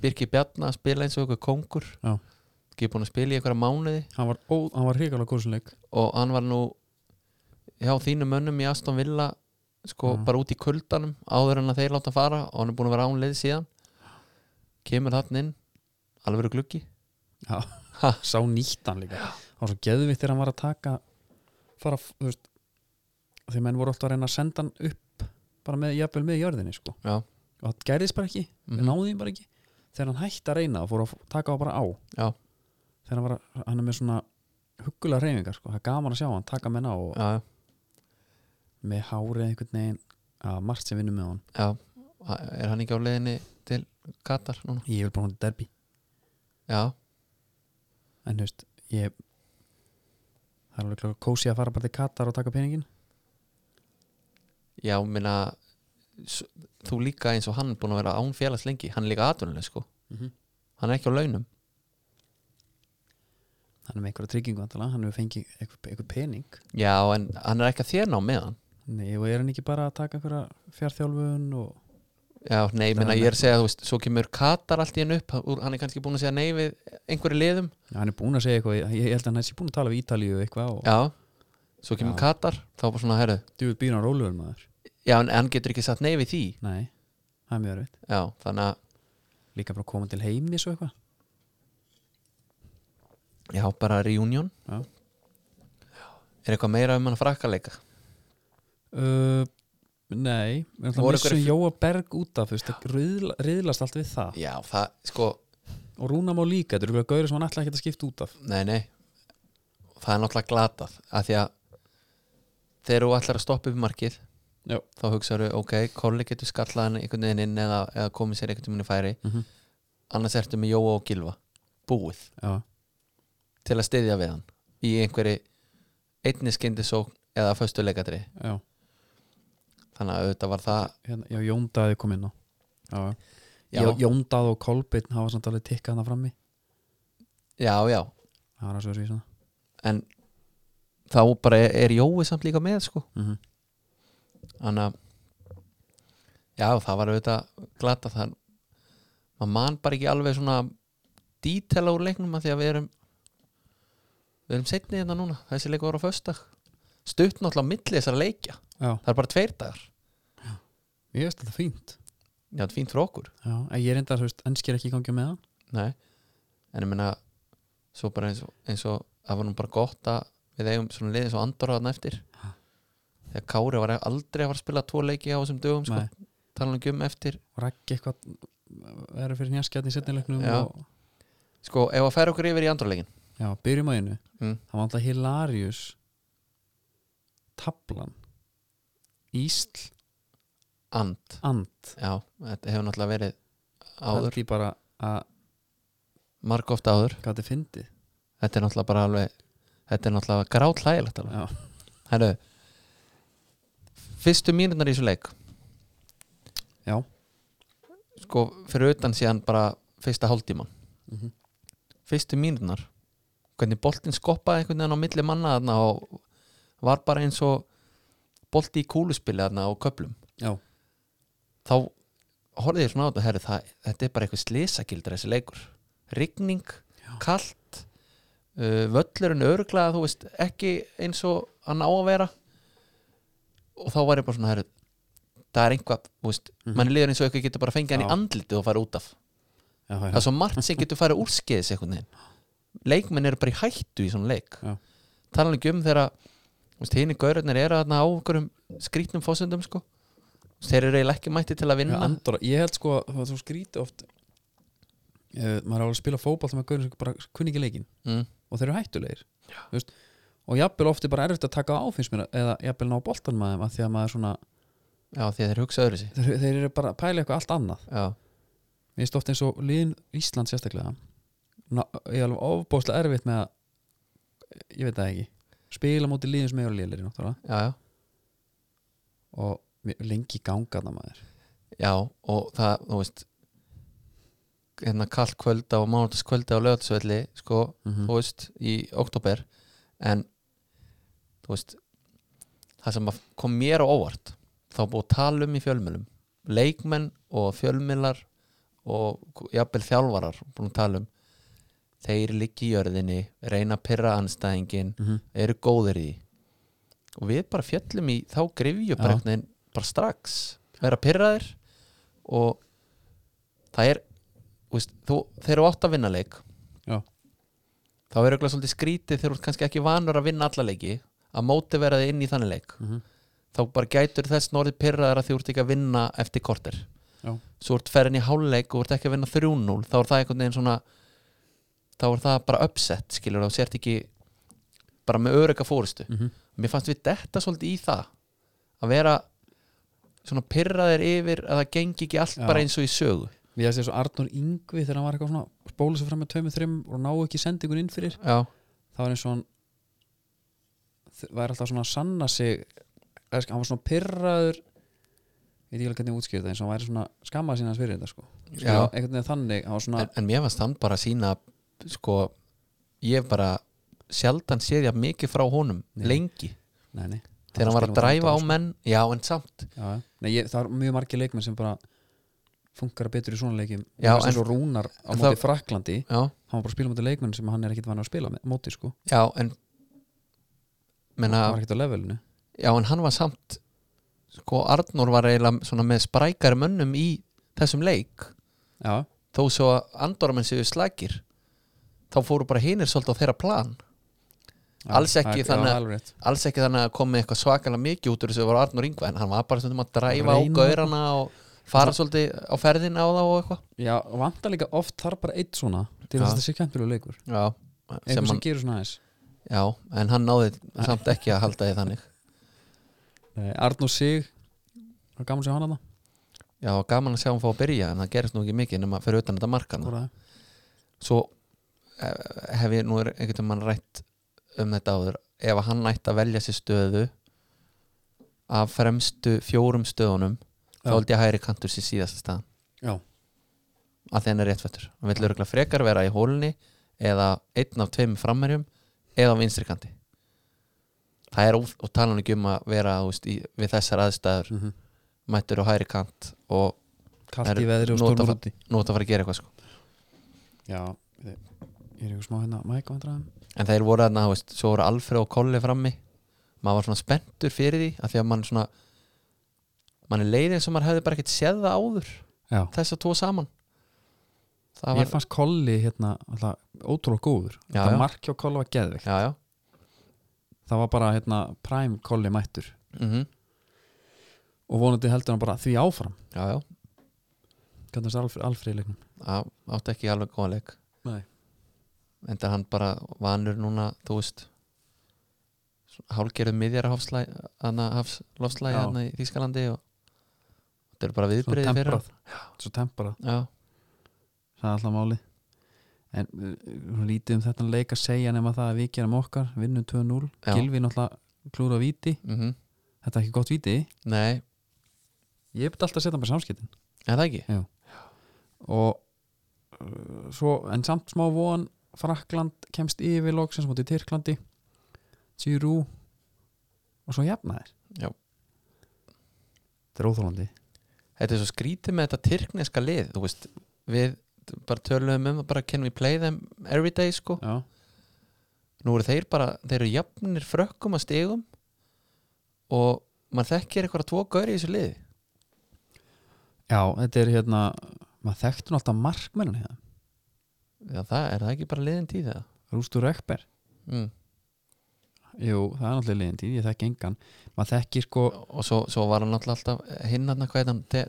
Birki Bjarna að spila eins og eitthvað kóngur
Já.
ekki búin að spila í einhverja mánuði
hann var, ó, hann var hrikalega góðsynleik
og hann var nú hjá þínum mönnum í Aston Villa sko
Já.
bara út í kuldanum áður en að þeir láta fara og hann er búin að vera ánleið síðan kemur hann inn alveg verið gluggi Ha.
sá nýttan líka hann var svo geðvitt þegar hann var að taka fara, þú veist þegar menn voru alltaf að reyna að senda hann upp bara með, jafnvel með jörðinni sko
Já.
og það gerðist bara ekki,
Mhm.
við náðum því bara ekki þegar hann hætti að reyna og fór að f- taka á bara á
Já.
þegar hann, var, að- hann er með svona huggulega reyfingar sko, það er gaman að sjá hann taka menn á og
já,
með hárið einhvern veginn að margt sem vinnur með hann
já, er hann ekki á leiðinni til Katar núna
ég vil bara hún derbi
já,
en þú veist, ég það er alveg kósi að fara bara til Katar og taka peningin
já, minna s- þú líka eins og hann búin að vera án félags lengi hann er líka atvinnuleg sko
Mhm.
hann er ekki á launum
hann er með einhverja tryggingu vantala, hann hefur fengið einhver, einhver pening
já, en hann er ekki að þérna á meðan
Nei, og er hann ekki bara að taka einhverja fjárþjálfun og
Já, nei,
Það
minna,
er
ég er að segja, þú veist, svo kemur Katar allt í hennu upp, úr- hann er kannski búin að segja nei við einhverju liðum,
Já, hann er búin að segja eitthvað, ég, ég held að hann sé búin að tala við Ítalíu eitthvað og
já, svo kemur
Já.
Katar, þá bara svona, herru,
djúið býr hann róluður maður
já, en hann getur ekki satt nei við því,
Nei, það er mjög erfitt
já, þannig að,
Líka bara að koma til heimis og eitthvað
já, bara reunion,
Já.
er eitthvað meira um hann að frakka leika,
uh, Nei, við erum
Voru
alltaf missum
einhverjir-
Jóa Berg út af fyrst, riðla, riðlast allt við það
já, það, sko,
og Rúnamá líka, þetta eru eitthvað gaurið sem hann ætla ekki að skipta út af
nei, nei, það er náttúrulega glatað, að því að þegar þú ætlar að stoppa upp í markið,
Já.
þá hugsaðu, ok, Kolli getur skallað hann einhvern veginn inn eða, eða komið sér einhvern veginn í færi,
mm -hmm.
annars ertu með Jóa og Gilva, búið.
Já,
til að styðja við hann í einhverju einni skyndisókn eða föstu leikadri
já,
þannig að auðvitað var það
hérna, já Jóndaði kom inn á Já,
já,
já. Jóndað og Kolbeinn hafa samt alveg tikkað hana frammi
já, já,
Það var að svo svísa
en þá bara er, er Jói samt líka með sko
mm -hmm.
þannig að já, það var auðvitað glata þann maður man bara ekki alveg svona dítela úr leiknum að því að við erum við erum setni hérna núna þessi leikur var á föstdag stutt náttúrulega á milli þessara leikja
Já,
það er bara tveir dagar,
ég veist þetta fínt
já, þetta er fínt fyrir okkur
Já, en ég reyndar, þú veist, ennskir ekki í gangi með hann
Nei, en ég meina svo bara eins og, eins og það var nú bara gott að við eigum svona liðið svo andorra þarna eftir
Ha.
þegar Kári var aldrei að fara að spila tvo leiki á þessum dögum sko,
Nei,
talan ekki um eftir
og rækki eitthvað eh, verður fyrir njaskjarni í setnilegnum
Já.
og,
sko, ef að færa okkur yfir í andrarleikin
já, byrjum að einu
Mm.
það var alltaf hilarious tablan Ísl
and,
and
já, þetta hefur náttúrulega verið áður,
held ég bara að
marg ofta áður
hvað þið fyndið
þetta er náttúrulega bara alveg þetta er náttúrulega grátlægilegt alveg
já,
Hæru, fyrstu mínutnar í þessu leik
Já.
Sko, fyrir utan síðan bara fyrsta hálftíman
Mhm.
Fyrstu mínutnar Hvernig boltinn skoppaði einhvern veginn á milli manna þarna og var bara eins og bolti í kúluspili þarna og köplum
já,
Þá horfði ég svona á þetta, herru, það, þetta er bara eitthvað slisagildra þessi leikur Rigning,
Já.
kalt uh, völlurinn örglega þú veist, ekki eins og hann á að vera og þá var ég bara svona herri, það er einhvað, þú veist, mm
Mhm.
mann líður eins og eitthvað getur bara fengið hann í
Já.
andlitið og fara út af
já, já,
það er svo margt sem getur farið úrskeiðis einhvern veginn leikmenn eru bara í hættu í svona leik
Já.
tala ekki um þegar hinn í gaurarnir eru þarna á okkurum skrítnum fósundum sko Þú veist, þeir eru eiginlega ekki mætti til að
já,
vinna
Andorra, ég held sko að það er svo skrítið oft eh, maður er alveg að spila fótball þegar maður gaurin sem bara kunni ekki leikinn
mm.
og þeir eru hættulegir þú veist, og jafnvel oft er bara erfitt að taka á finnst mér eða jafnvel ná boltan maður af því að maður er svona,
já því að þeir hugsa öðru sér
þeir, þeir eru bara að pæla eitthvað allt annað
já,
Mér finnst oft eins og liðin Ísland sérstaklega ná, ég er alveg ofbóðslega erfitt með að ég veit það ekki spila móti liðin sem eru liðlir náttúrulega
já, já
og mér- lengi ganga það maður
Já, og það, þú veist hérna kallt kvölda og mánudags kvölda á lögatisvelli sko,
Mhm.
þú veist, í oktober en þú veist, það sem að kom mér á óvart, þá var búið að tala um í fjölmjölum, leikmenn og fjölmjölar og jafnvel þjálfarar, búin að tala um þeir liggi í jörðinni reyna að pyrra anstæðingin
mm -hmm.
eru góðir í því. og við bara fjöllum í þá grifju
Já.
bara, einhvern veginn, bara strax vera pyrraðir og það er þú veist, þú, þeir eru átt að vinna leik
Já.
þá er eitthvað svolítið skrítið þegar þú ert kannski ekki vanur að vinna alla leiki að móti vera þið inn í þannig leik
Mm
þá bara gætur þess norðið pyrraðar að því þú ert ekki að vinna eftir korter
Já.
svo ert ferðin í háluleik og þú ert ekki að vinna 3-0 þá er það einhvern veginn svona þá er það bara uppsett skilur þá sért ekki bara með örygga fórustu
-hmm.
mér fannst við detta svolítið í það að vera svona pyrraðir yfir að það gengi ekki allt
Já.
bara eins og í sögu
Ég þessi svo Arnur Yngvi þegar hann var eitthvað svona spóla sig fram með tveimur þrim og ná ekki sendingun inn fyrir
já,
það var eins og hann þ- væri alltaf svona að sanna sig eða sk- hann var svona pyrraður ég veit ekki alveg hvernig ég útskýr það eins og hann væri svona skammað sína hans fyrir þetta sko
Já.
Skilur, einhvern veginn þannig hann var svona
en, en mér fannst hann bara sína sko, ég hef bara sjaldan séð ég mikið frá honum
Nei.
lengi
nei, nei,
þegar hann var að
skilur
dræfa á
sko.
menn já en samt,
já, já. nei, ég, það er mjög margir leikmenn sem bara funkar betur í svona leikjum
Já,
já, en
en-
svo Rúnar á
en
móti
það-
Fraklandi
já
hann var bara að spila á móti leikmenn sem hann er ekkit vann að spila með, móti sko
Já, en
hann var
menna,
ekkit á levelinu
já, en hann var samt sko, Arnór var eiginlega svona með sprækari mönnum í þessum leik
já,
þó svo að andoramenn séu slagir þá fóru bara hinir svolítið á þeirra plan
já,
Alls
það
ekki
er-
þannig
já,
að-
alveg rétt.
alls ekki þannig að koma eitthvað svakalega mikið út úr þessu var Arnór Ingva en hann var bara stundum að dræfa á
Reyna.
gaurana og fara svolítið á ferðina á þá og eitthvað
já, vantar líka oft þar bara eitt svona til
Já.
þess að þetta sé kempilega leikur
já,
einhver
sem
sem,
hann,
gerur svona aðeins
já, en hann náði samt ekki að halda því þannig
Nei, Arnur Sig það var gaman sem hann að
já, gaman að sjá hann fá að byrja en það gerist nú ekki mikið nema fyrir utan þetta markana
það
svo eh, hef ég nú einhvern veginn rætt um þetta áður ef hann ætti að velja sér stöðu af fremstu fjórum stöðunum
Já.
þá held ég að hægri kantur sér síðasta staðan
Já.
að þeirn er réttfættur hann vil örgulega frekar vera í hólunni eða einn af tveim frammerjum eða á vinstri kanti það er óf- og talan ekki um að vera þú veist, í, við þessar aðstæður
mm -hmm.
mættur á hægri kant og
kallt
Það
í
er
veðri og
nota-
stormur úti
nú þetta að fara að gera eitthvað sko
já, ég er ykkur smá hérna mæk vandræðum
en þeir voru þarna, þú veist, svo voru Alfred og Kolli frammi maður var svona spenntur fyrir því af því að mann svona mann er leið eins og maður hefði bara ekkert séð það áður
já,
þess að tvo saman það
mér
var,
fannst Kolli hérna alltaf ótrúlega góður
Já,
það
já.
marki á Kolli var geðveikt
já, já
það var bara hérna prime Kolli mættur
mm
og vonandi heldur hann bara því áfram
já, já,
hvernig þessi Alfri, Alfri í leiknum
það átti ekki alveg góða leik
Nei.
en það hann bara vanur núna, þú veist hálgerðu miðjara hafslæ, hana, hafslofslæ
Já.
hana í Þískalandi og þetta er bara
svo
viðbyrðið fyrir
temprað svo temprað,
hann. já,
það er alltaf máli en uh, uh, lítið um þetta leik að segja nema það að við gerum okkar vinnum 2-0,
Já.
Gilvi náttúrulega klúra víti,
mhm,
þetta er ekki gott víti
nei,
ég hef alltaf að setja hann bara samskiptin
er það ekki?
og uh, svo, en samt smá von Frakland kemst yfir loksins mútið Tyrklandi Tjúrú og svo jafnaðir
Já.
þetta er óþólandi
þetta er svo skrítið með þetta tyrkneska lið þú veist, við bara töluðum um að bara can we play them every day sko,
já,
nú eru þeir bara þeir eru jafnir frökkum að stigum og maður þekkir eitthvað tvo gaur í þessu liði
Já, þetta er hérna maður þekktur náttúrulega markmennin hérna
Já, það er það ekki bara liðin tíð það
Rústur Ekber
mm.
Jú, það er náttúrulega liðin tíð, ég þekki engan maður þekkir sko
og svo, svo var hann náttúrulega alltaf eh, hinn hann hvað heit hann de,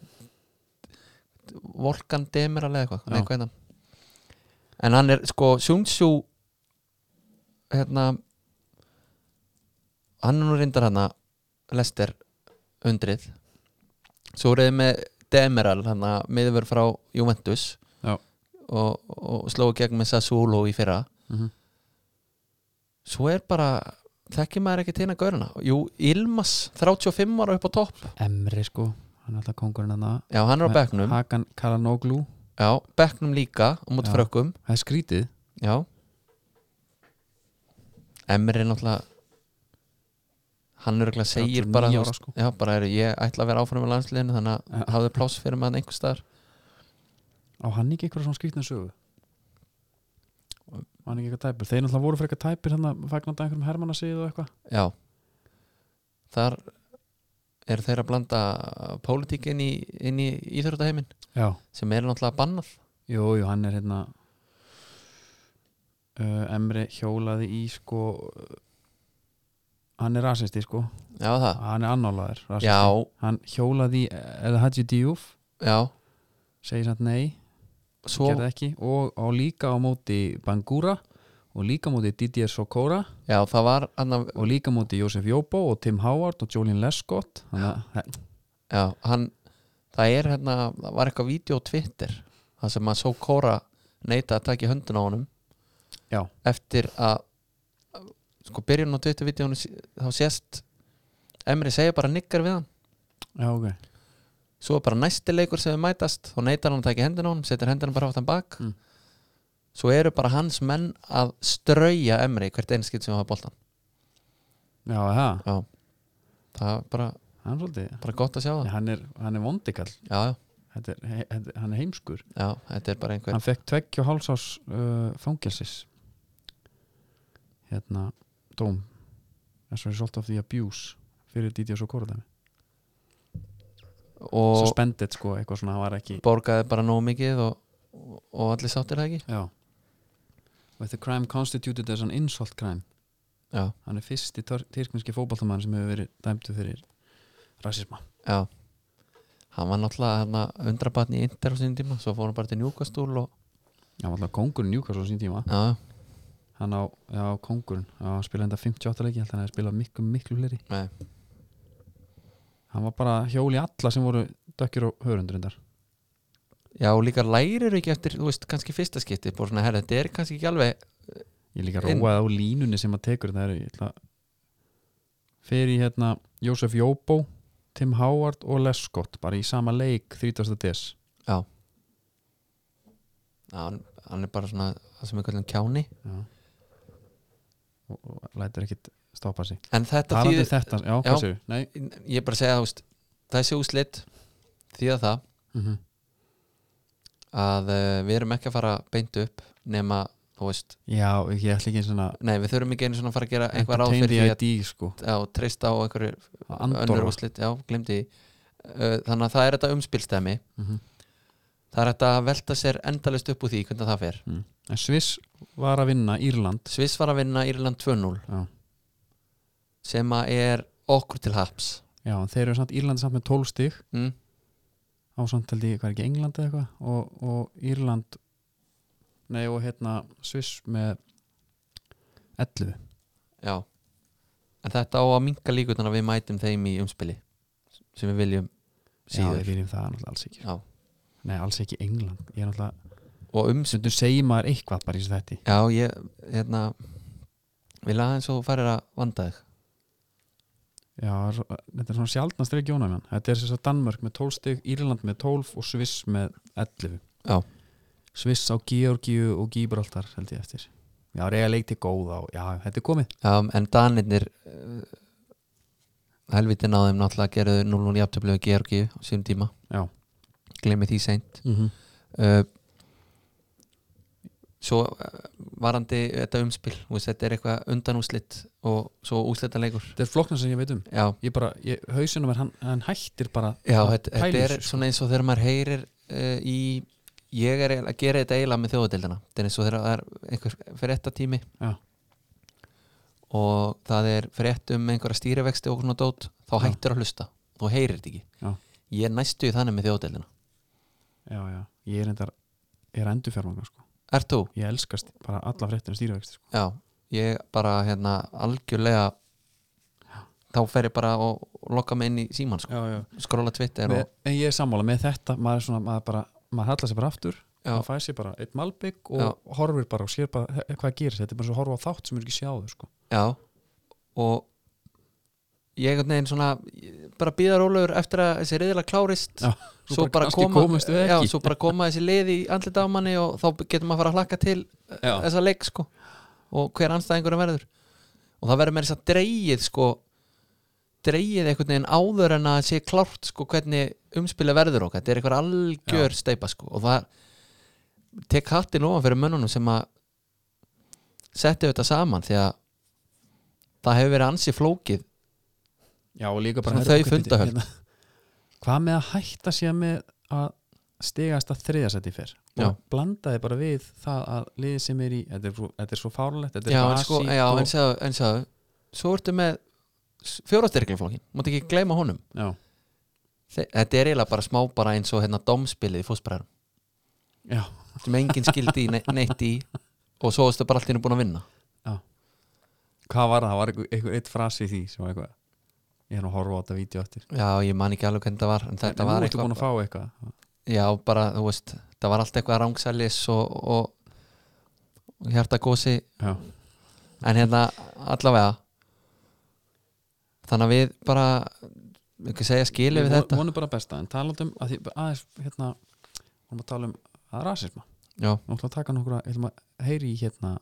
Volkan Demeral eða eitthvað Nei,
Já.
hvað heit hann en hann er sko Sjungsjú hérna hann er nú reyndar hann Lester undrið svo reyði með Demeral hann að miðurver frá Juventus
Já.
og, og sló í gegn með Sassuolo í fyrra
mm
svo er bara þekkir maður ekki tina gaurina jú, Ilmas, 35 ára upp á topp
Emri sko, hann er alltaf kongurinn hann
já, hann er á
Nei,
bekknum
Hakan Kalanoglu
já, bekknum líka á móti
Já.
frökkum
Það er skrítið
já Emri er náttúrulega hann er að segir
39
bara,
ára, sko.
já, bara er, ég ætla að vera áfram í landsliðinu þannig að
Já.
hafði pláss fyrir maður einhvers staðar
á hann ekki eitthvað svona skrýtna sögu Var hann ekki eitthvað tæpur þeir náttúrulega voru frekar tæpir hann að fagnandi einhverjum hermanna síðu og eitthvað
já þar er þeir að blanda pólitík inn í, inn í íþjóðutaheimin
já,
sem er náttúrulega bannað
jú, jú, hann er hérna uh, Emri hjólaði í sko uh, hann er rasisti sko
já það,
hann er annálaður rasisti
já,
hann hjólaði í El Hadji Diouf
já
segir samt nei,
svo,
gerði ekki og, og líka á móti Bangura og líka á móti Didier Sokora
já það var annaf,
og líka á móti Jósef Jóbo og Tim Howard og Jolene Lescott þannig að
Já, hann það er hérna, það var eitthvað vídeo á Twitter það sem að svo Kóra neita að taka í höndun á honum
Já.
eftir að sko byrjun á Twitter-vídeónu þá sést Emri segja bara nikkar við hann
Já, ok.
svo er bara næsti leikur sem við mætast þá neitar hann að taka í höndun á honum, setur hendina bara átt hann bak
Mm.
svo eru bara hans menn að strauja Emri hvert einskitt sem hafa boltan
Já, það,
Já, það er bara,
hann er svolítið.
bara gott að sjá
Nei,
það
Hann er, hann er vondikall,
Já, já,
þetta er, he- þetta, hann er heimskur.
já, þetta er bara einhver
Hann fekk tveggju hálsás uh, fangelsis. Hérna, dóm. As a result of the abuse fyrir Dídiás og Kóraðami.
og
Suspended, sko, eitthvað svona, hann var ekki.
borgaði bara nógu mikið og, og allir sáttir það ekki
Já. With the crime constituted as an insult crime.
já,
Hann er fyrsti tor- tyrkneski fótballtamann sem hefur verið dæmdu fyrir rasisma.
já hann var náttúrulega hérna, undrabatn í Inter á sínum tíma, svo fór hann bara til Newcastle og
Hann var alltaf kongurinn Newcastle á sín tíma.
já,
Hann á, já, kongurinn. Já, hann spilaði enda 58 leiki, ég held að hann hefði spilað miklu, miklu fleiri.
nei,
hann var bara hjól í alla sem voru dökkir og hörundurindar
já og líka lærir ekki eftir, þú veist, kannski fyrsta skipti bara svona, herra, þetta er kannski ekki alveg
ég líka
Inn.
róaði á línunni sem að tekur það er ég ætla að- fer í hérna Jósef Jóbó Tim Howard og Les Scott bara í sama leik 30. des
já, hann, hann er bara svona það sem er kallum kjáni,
já. Og, og lætur ekkit stoppa sig
en þetta
talandi
þýðir-
þetta, já,
Já.
hvað séu nei,
ég er bara að segja, þú veist þessi úslit, því að það
mm
að uh, við erum ekki að fara beint upp nema, þú veist,
já, ég ætla ekki eins og að
nei, við þurfum ekki einu svona að fara að gera eitthvað ráð
entertain
fyrir
the
því að
ID sko
já, treysta á einhverju önnur
andorra
úrslit, já, glemdi þannig að það er þetta umspilstæmi
mm
það er þetta að velta sér endalist upp úr því hvernig það fer
en Sviss var að vinna Írland
Sviss var að vinna Írland 2-0
já,
sem að er okkur til haps
já en þeir eru samt Írland samt með 12 stig
mm?
á samtaldi, hvað er ekki, England eða eitthvað og, og Írland nei og hérna Sviss með 11
já en þetta á að minka líkutana við mætum þeim í umspili sem við viljum
já, við
síður
viljum það náttúrulega alls ekki
já.
nei, alls ekki England, ég er náttúrulega
og umspil
stundum segir maður eitthvað bara í þessu þætti
já, ég, hérna vil aðeins og farir að vanda þig
já, svo- þetta er svona sjaldna streik jónum hérna. þetta er þess að Danmörk með 12 stig, Írland með 12 og Sviss með 11
Já.
Sviss á Georgiu og Gíbraltar held ég eftir já, reyða leik til góða og já, þetta er komið
já, Um, en Danirnir uh, helvitin á þeim náttúrulega gerðu 0-0 jafntöflu við Georgi á sínum tíma
já,
Mhm. glemir því seint
mm -hmm.
uh, Eh, svo eh, varandi þetta umspil þú veist, þetta er eitthvað undanúslitt og svo úslitaleikur
þetta er flóknar sem ég veit um
já,
ég bara, ég, hausinum er hann, hann hættir bara
já
að
þetta, þetta
pæla í
er
þessu, sko.
svona eins og þegar maður heyrir uh, í ég er eiginlega að gera þetta eiginlega með þjóðadeildina þetta er eins og þegar það er einhver fréttatími
Já.
og það er frétt um einhverja stýrivexti og svona dót þá
Já.
hættir að hlusta, þú heyrir þetta ekki
Já.
ég er næstu í þannig með þjóðadeildina
já, já, ég er endar ég er endur fjármagnar sko,
Ert þú?
ég elskast bara alla fréttina stýrivexti sko.
Já, ég bara hérna algjörlega þá fer ég bara og lokka mig inn í síman sko.
já, já.
skrolla Twitter
Með,
og
en ég er sammála með þetta maður er svona, maður bara, maður hallar sér bara aftur
já,
maður fæði sér bara eitt malbygg og
Já.
horfir bara og sér bara he- hvað gerir þetta er bara svo að horfa á þátt sem er ekki sjáður sko.
já og ég einhvern veginn svona ég bara býða rólegur eftir að þessi reyðilega klárist
Já,
svo bara,
kannski
koma,
komumst við
já,
ekki
svo bara koma þessi leið í andlita á manni og þá getur maður að fara að hlakka til
Já.
þessa leik sko og hver anstæðingur verður og það verður með þess að dreigið sko dreigið einhvern veginn áður en að sé klárt sko hvernig umspila verður okkar þetta er einhver algjör steipa sko og það tek hattin ofan fyrir mönnunum sem að setja þetta saman því að það hefur verið ansi flókið
Já, og líka
Svona
bara
þau
herra, hvað-
fundahöld.
hérna, Hvað með að hætta sér með að stigast að þriðasætti fyrr
Já.
og blandaði bara við það að liðið sem er í, þetta er svo, þetta er svo fárlegt þetta er
já, en
basíkt
sko, já,
og,
en sagði, en sagði svo ertu með fjórastyrkjaflokkin, mátt ekki gleyma honum
já,
Þe- þetta er eiginlega bara smá bara eins og hérna domspilið í fósbræðarum
já,
sem enginn skildi í ne neitt í og svo erstu bara allt hérna búin að vinna
hvað var það, það var einhver, einhver eitt frasi í því sem var eitthvað ég er nú að horfa á þetta vídeo eftir
já, ég man ekki alveg hvernig þetta var en þetta
en
var
nú ertu búin að fá eitthvað
já, bara, þú veist, það var allt eitthvað rangsælis og, og, og hjarta gósi
já,
en hérna, allavega þannig að við bara ekki segja skilu við
von-
þetta
vonum bara besta, en talandum um að því, aðeins, hérna, vonum að tala um að rasisma,
já,
nú ætlum við að taka nokkra, ég ætlum að heyri í hérna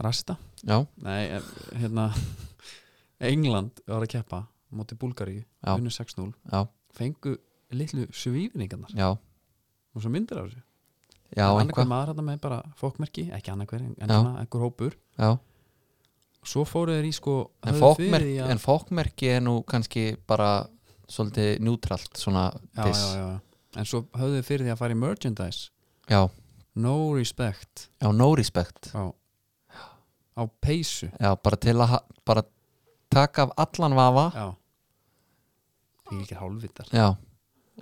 rasista
já,
Nei, eh, hérna England var að keppa á móti Búlgaríu,
Já.
unnu 6-0
já,
fengu litlu svífinningarnar
já
og svo myndir af þessu
já,
annarkar
einhvað,
maður þetta með bara fókmerki ekki annarkver, en
Já.
svona einhver hópur
já
svo fóru þeir í sko
en
höfðu fyrir
fókmerki,
því að-
en fókmerki er nú kannski bara svolítið njútralt svona
já, já, já, já. en svo höfðu þeir fyrir því að fara í merchandise
já,
no respect
já, no respect
á, á peysu
já, bara til að ha- bara taka af allan vafa
já því ekki hálfvitar
já,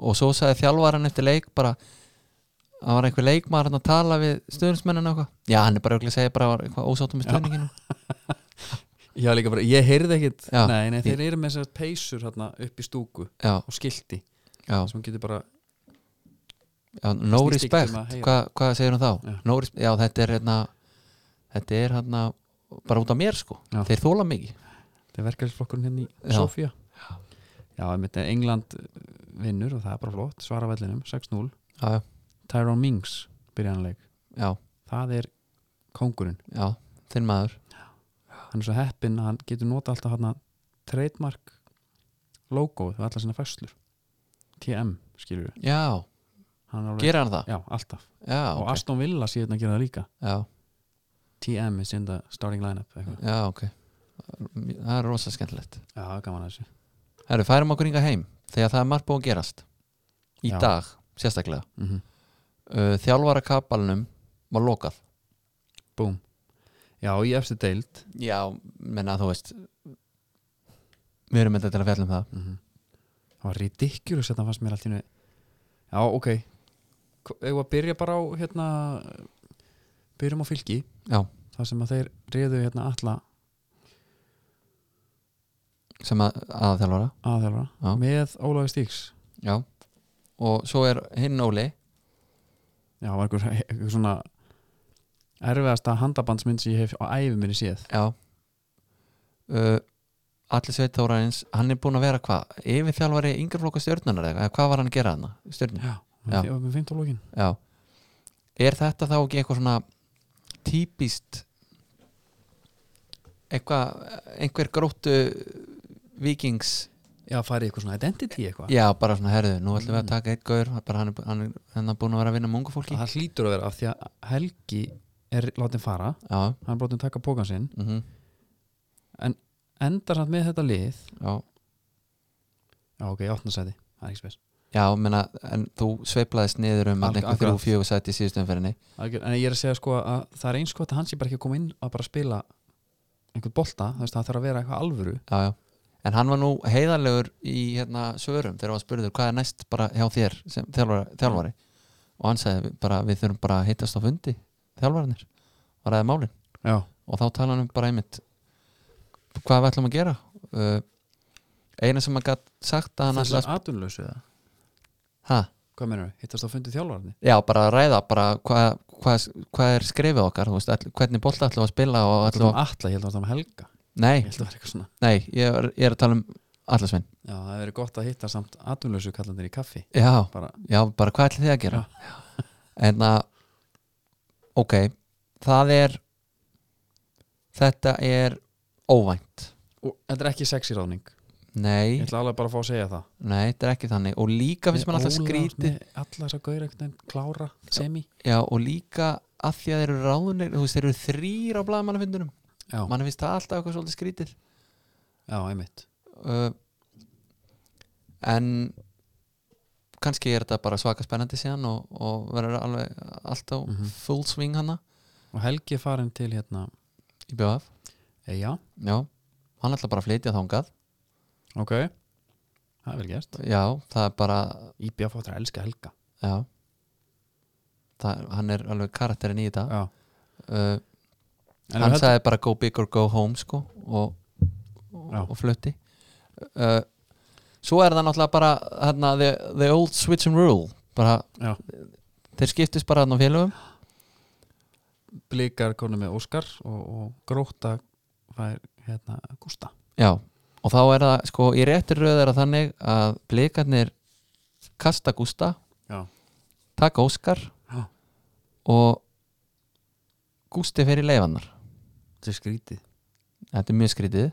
og svo sagði þjálfaran eftir leik bara það var einhver leikmaður þarna að tala við stuðnismennina og eitthvað já, hann er bara örugglega að segja bara var eitthvað ósáttum með stuðninginu
já líka bara, ég heyrði ekkit
Já.
nei, nei, þeir eru með þessar peysur hérna, upp í stúku
já,
og skilti
já,
sem getur bara
já, no
Snýst ekki
respect
um að heyra.
hvað hva segir hún þá?
Já.
No respect, já, þetta er hérna þetta er hérna bara út af mér sko,
Já.
þeir þóla mikið
þetta er verkefnisflokkurinn hérna í
Já.
Sofía já, einmitt, England uh, vinnur og það er bara flott, svara vellinum 6-0,
já, já,
Tyrone Mings byrjanleik,
já
það er kongurinn,
Já, þinn maður
hann er svo heppinn að hann getur nota alltaf hann trademark logoð við alla sinna fæslur TM skilur við,
Já,
hann er alveg
gera hann það?
já, alltaf,
Já,
og
ok
Aston Villa síðan að gera það líka,
já,
TM is in the starting lineup, eitthvað,
já, ok Það er rosa skemmtilegt
já, það er gaman að þessu
Herru, færum okkur yngar heim Þegar það er margt búið að gerast Í
Já.
dag, sérstaklega
mm
uh, Þjálfara kapalnum var lokað
búm já, í efstu deild
Já, menna þú veist Við erum þetta til að fjalla um það
mm það var ridiculous þetta fannst mér allt í hennu já ok Hva- eigum við að byrja bara á hérna byrjum á fylki
Já,
þar sem að þeir reyðu hérna alla
sem að, að þjálfara Já.
aðhjálfara með Ólafi Stíks
Já Og svo er hinn Óli
já var einhver, einhver svona erfiðasta handabandsmynd sem ég hef á æfi minni séð
Já uh, Allir sveit Þórarins Hann er búinn að vera hvað? Yfirþjálfari yngreflokka stjörnunar eða hvað var hann að gera hann? Stjörnun?
já,
Já.
já. með fintológin
Já Er þetta þá ekki eitthvað svona típist eitthvað einhver gróttu vikings
Já, farið eitthvað svona identity eitthvað
Já, bara svona herðu, nú ætlum við að taka eitt gaur bara hann, er- hann, er- hann er búin að vera að vinna með ungu fólki
Það hlýtur að vera af því að Helgi er látin fara
Já,
hann er brotin taka pókan sinn
mhm,
en endar hann með þetta lið
já
Já, ok, ég opna sæti, það er ekki spes
Já, menna, en þú sveiflaðist niður um
Alg-
að einhver
akkurat.
þrjú fjögur sætt í síðustu umferðinni
Algjör- En ég er að segja sko að það er eins gott að hann sé bara ekki að koma inn að bara spila einhvern bolta, þú veist, það þarf að vera eitthvað alvöru
Já, já En hann var nú heiðarlegur í hérna, svörum þegar hann spurður hvað er næst bara hjá þér sem þjálfari, þjálfari. og hann sagði bara við þurfum bara að hittast á fundi þjálfarinir og ræða málin
Já,
og þá tala hann um bara einmitt hvað við ætlum að gera uh, eina sem hann gat sagt að hann ætla að
er atunlausu það
ha,
Hvað menur við, hittast á fundi þjálfarni?
já, bara að ræða bara hvað, hvað, hvað er skrifið okkar þú veist, all, hvernig bolta ætlum við að spila og
Það
ætlum
var
að,
alltaf, ég held að það var helga
nei,
Ég held að það var eitthvað svona
nei, ég er, ég er að tala um allasvein,
Já, það hefur verið gott að hitta samt atunlausu kallandir í kaffi
já
bara,
Já, bara hvað ætlið þið að gera? En að ok, það er þetta er óvænt
og, Þetta er ekki sexy ráðning
Nei,
Ég ætla alveg bara að fá að segja það
nei, þetta er ekki þannig og líka finnst mér alltaf skrítið
Alla þess að gauðra einhvern veginn klára semi
Já, og líka að því að þeir eru ráðunir þú veist, þeir eru þrýr á blaðamannafundunum
Já,
mann finnst það alltaf eitthvað svolítið skrítið
já, einmitt
uh, en kannski er þetta bara svaka spennandi síðan og, og verður alveg allt á
Mhm.
full swing hana
Og Helgi er farin til hérna
í BF
e, Já,
Já, hann ætla bara að flytja þangað
ok Það er vel gert
Já, það er bara
Íbjá fóttur að elska Helga
Já það, Hann er alveg karakterinn í þetta
Já,
uh,
En
Hann
við
sagði bara go big or go home sko og,
Já.
og, og flutti uh, Svo er það náttúrulega bara hérna, the, the old switch and rule bara,
Já.
þeir skiptist bara hann á félögum
Blikar konum með Óskar og, og Gróta fær hérna Gústa
Já, og þá er það sko í réttir röð er það þannig að blikarnir kasta Gústa
Já.
taka Óskar
Já.
og Gústi fer í leifannar
Þetta er skrítið
þetta er mjög skrítið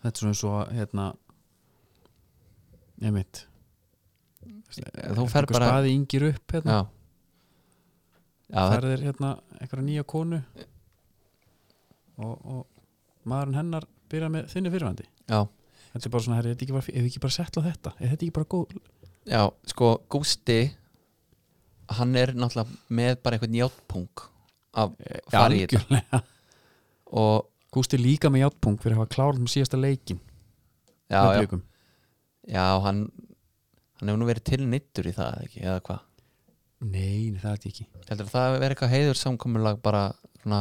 Þetta er svona svo hérna Einmitt Eh,
þú fer bara
Spaði yngir upp hérna
já. Já, það,
færðir hérna einhverja nýja konu og, og maðurinn hennar byrja með þinni fyrirvandi
já,
þetta er bara svona, herri, þetta ekki bara, ef við ekki bara setla þetta er þetta ekki bara góð
já, sko Gústi hann er náttúrulega með bara einhvern játpung af farið í þetta
algjörlega
og
Gústi er líka með játpunkt fyrir að hafa klárað um síðasta leikin
já,
með
já,
Blikum.
já, hann hann hefur nú verið tilnittur í það ekki, eða hvað
nei, nei, það er þetta ekki
heldur það að vera eitthvað heiður samkomulag bara svona,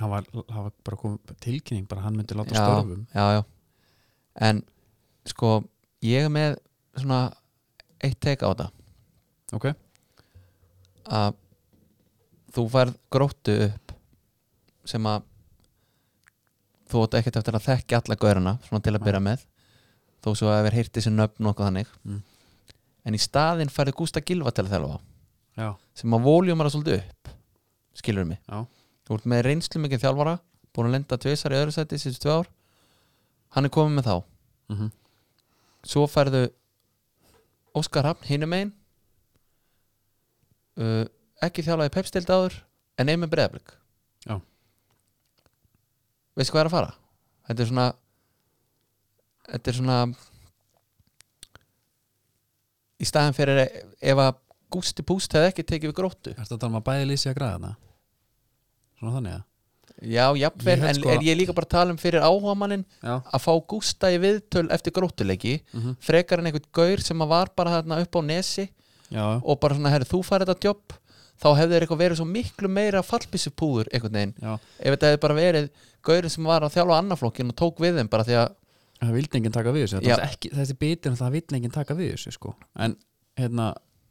hann var, hann var bara komið tilkynning bara hann myndi láta
Já.
störfum
já, já en sko ég er með svona eitt teik á þetta
ok,
að þú færð gróttu upp sem að þú átt ekkert eftir að þekki alla gaurana svona til að
Nei.
byrja með þó svo að við heyrti þessi nöfn og okkur þannig
Mm.
en í staðinn færði Gústa Gilva til að þjálfa
já,
sem að voljum er að svolítið upp skilur mig
Já.
þú ert með reynslu mikið þjálfara búin að lenda tvisar í öðru sæti síðustu tvö ár hann er komið með þá
mm
Mhm. svo færðu Óskar Hafn hinum einn uh, ekki þjálfaði pepstild áður en einu breðablik
Já.
veistu hvað er að fara? þetta er svona þetta er svona í staðan fyrir ef að Gústi Púst hefði ekki tekið við gróttu
ertu að tala um að bæði lýsi að græða svona þannig að
já, jafnvel,
Ég held
en
sko-
er ég líka bara að tala um fyrir áhugamannin
já,
að fá Gústa í viðtöl eftir gróttuleiki
mm
frekar en einhvern gaur sem að var bara þarna upp á nesi
já,
og bara svona, herri, þú farið þetta jobb þá hefði þeir eitthvað verið svo miklu meira fallbissupúður einhvern veginn,
já
ef þetta hefði bara verið gaurið sem var að þjálfa annaflokkin og tók við þeim bara því að,
Það vildi enginn taka við þessu
Já.
þetta er ekki, Þessi bitin það vildi enginn taka við þessu sko. En hérna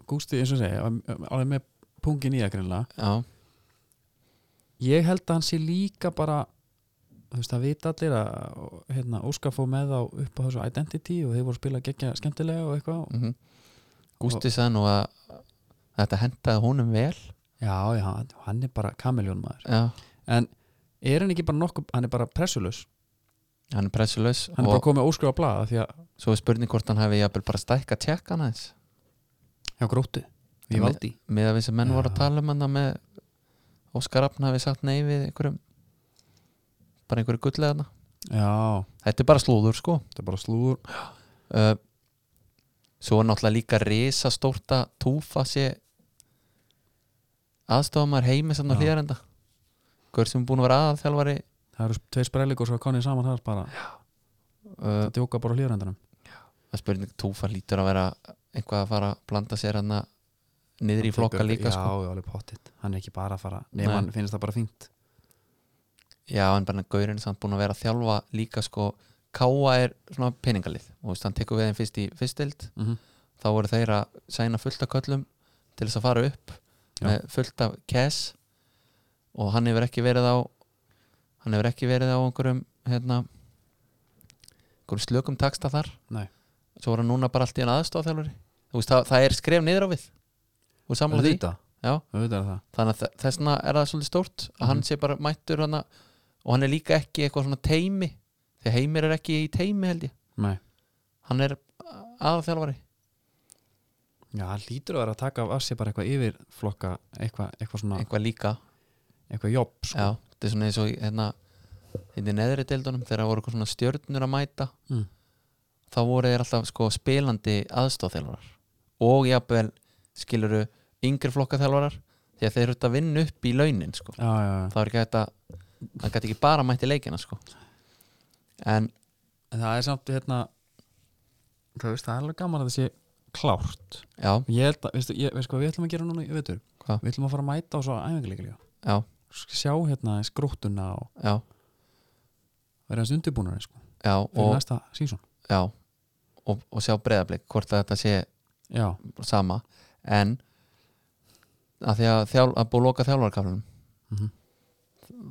Gústi eins og segja Alveg með pungin í það greinlega
já,
Ég held að hann sé líka bara Þú veist það vita allir að hérna, Óskar fóð með þá upp á þessu identity og þeir voru að spila gegja skemmtilega og eitthvað
mhm Gústi sagði nú að þetta hendaði honum vel
Já, já, hann er bara kameljón maður
já,
En er hann ekki bara nokkuð, hann er bara pressulus
hann er pressulaus
hann er bara
og
komið óskrifa blaða því að
svo er spurning hvort hann hefði jafnvel bara stækka tjekkan aðeins
hjá gróttu, við valdi
með að við sem menn
Já.
voru að tala um hann með Óskar Rafn hafi sagt nei við einhverjum bara einhverju gullið hann
já,
þetta er bara slúður sko
þetta er bara slúður
uh, svo er náttúrulega líka risastórta túfa sé aðstofamar heimi sem á
Já.
hlýðarenda hver sem er búin að vera aðalþjálfari Eh,
það eru tveir sprellikur svo konið saman þar bara
uh,
það djóka bara hlýðarendunum
að spurning túfa lítur að vera einhvað að fara að blanda sér hann niður í flokka líka
já,
sko.
já, alveg pottitt, hann er ekki bara að fara
Nei.
nema hann finnst það bara fínt
já, en bara gaurinn er samt búin að vera að þjálfa líka sko, Káa er svona peningalið og veist, hann tekur við þeim fyrst í fyrstild
mm
þá voru þeir að sæna fullt af köllum til þess að fara upp
Já.
með fullt af cash og hann hefur ekki verið á hann hefur ekki verið á einhverjum hérna einhverjum slökum taksta þar
Nei.
svo voru hann núna bara allt í hann aðstofþjálfari þú veist það, það er skref niður á við og samla því
auðvitað,
Já.
auðvitað er það
þannig að þe- þessna er það svolítið stórt að hann
Mhm.
sé bara mættur hann og hann er líka ekki eitthvað svona teimi því heimir er ekki í teimi held ég
Nei.
hann er aðalþjálfari
já, hann lítur að vera að taka af assi bara eitthvað yfir flokka, eitthvað, eitthvað svona
eitthvað líka
eitthvað jobb, sko
Já, þetta er svona eins og í, hérna hérna í neðri deildunum þegar voru eitthvað svona stjörnur að mæta
Mm.
þá voru þeir alltaf sko spilandi aðstofþjálfarar og jafnvel skiluru yngri flokkaþjálfarar því að þeir eru þetta að vinna upp í launin sko.
já, já, já.
það er ekki þetta hann gæti ekki bara mætt í leikina sko. en
En það er samt hérna það, veist, það er alveg gaman að það sé klárt
já,
ég held að, veistu, ég, veistu hvað við ætlum að gera núna í vetur
Hvað?
við ætlum að fara að mæta á svo æfingarleika líka
já,
sjá hérna aðeins gróttuna og
já,
vera hans undirbúnari sko,
já
fyrir
og,
næsta sísón
já og, og sjá breyðablik hvort að þetta sé
já,
sama en að því að, þjál, að búið að loka þjálfarkaflunum
Mhm.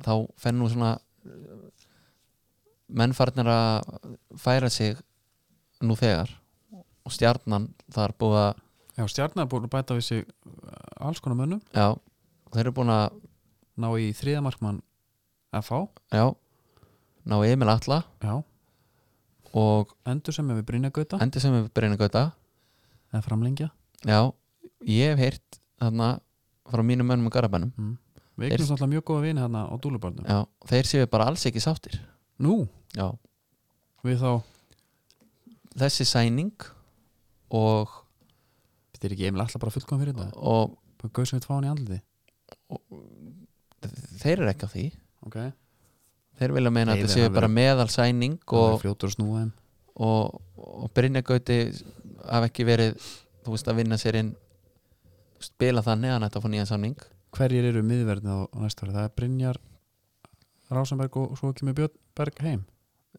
þá fenn nú svona mennfarnir að færa sig nú þegar og stjarnan þar búið að
já stjarnar er búin að bæta við sig uh, alls konar mönnum
já, þeir eru búin að
ná í þriða markmann FH
já, ná Emil Atla
já,
og
endur sem við Brynja Gauta
endi sem við Brynja Gauta
eða framlengja
já, ég hef heyrt þarna frá mínum mönnum í Garabænum
mm. við eignum alltaf mjög góða vini hérna á dúlubarnum
já, þeir séu bara alls ekki sáttir
nú,
já,
við þá
þessi sæning og,
þetta er ekki Emil alltaf bara fullkom fyrir þetta
og
bara gauð sem við tváðan í andliti
þeir eru ekki á því
okay.
þeir vilja
Þeir
meina að þetta
eru
séu
að
bara meðal sæning
Það er
og,
fljótur að snúa þeim
og, og Brynjagauti hafa ekki verið þú veist að vinna sér inn spila þannig að hann ætti að fá nýjan samning
Hverjir eru miðverðin á næsta ári? Það er Brynjar Rásenberg og svo kemur Björn Berg heim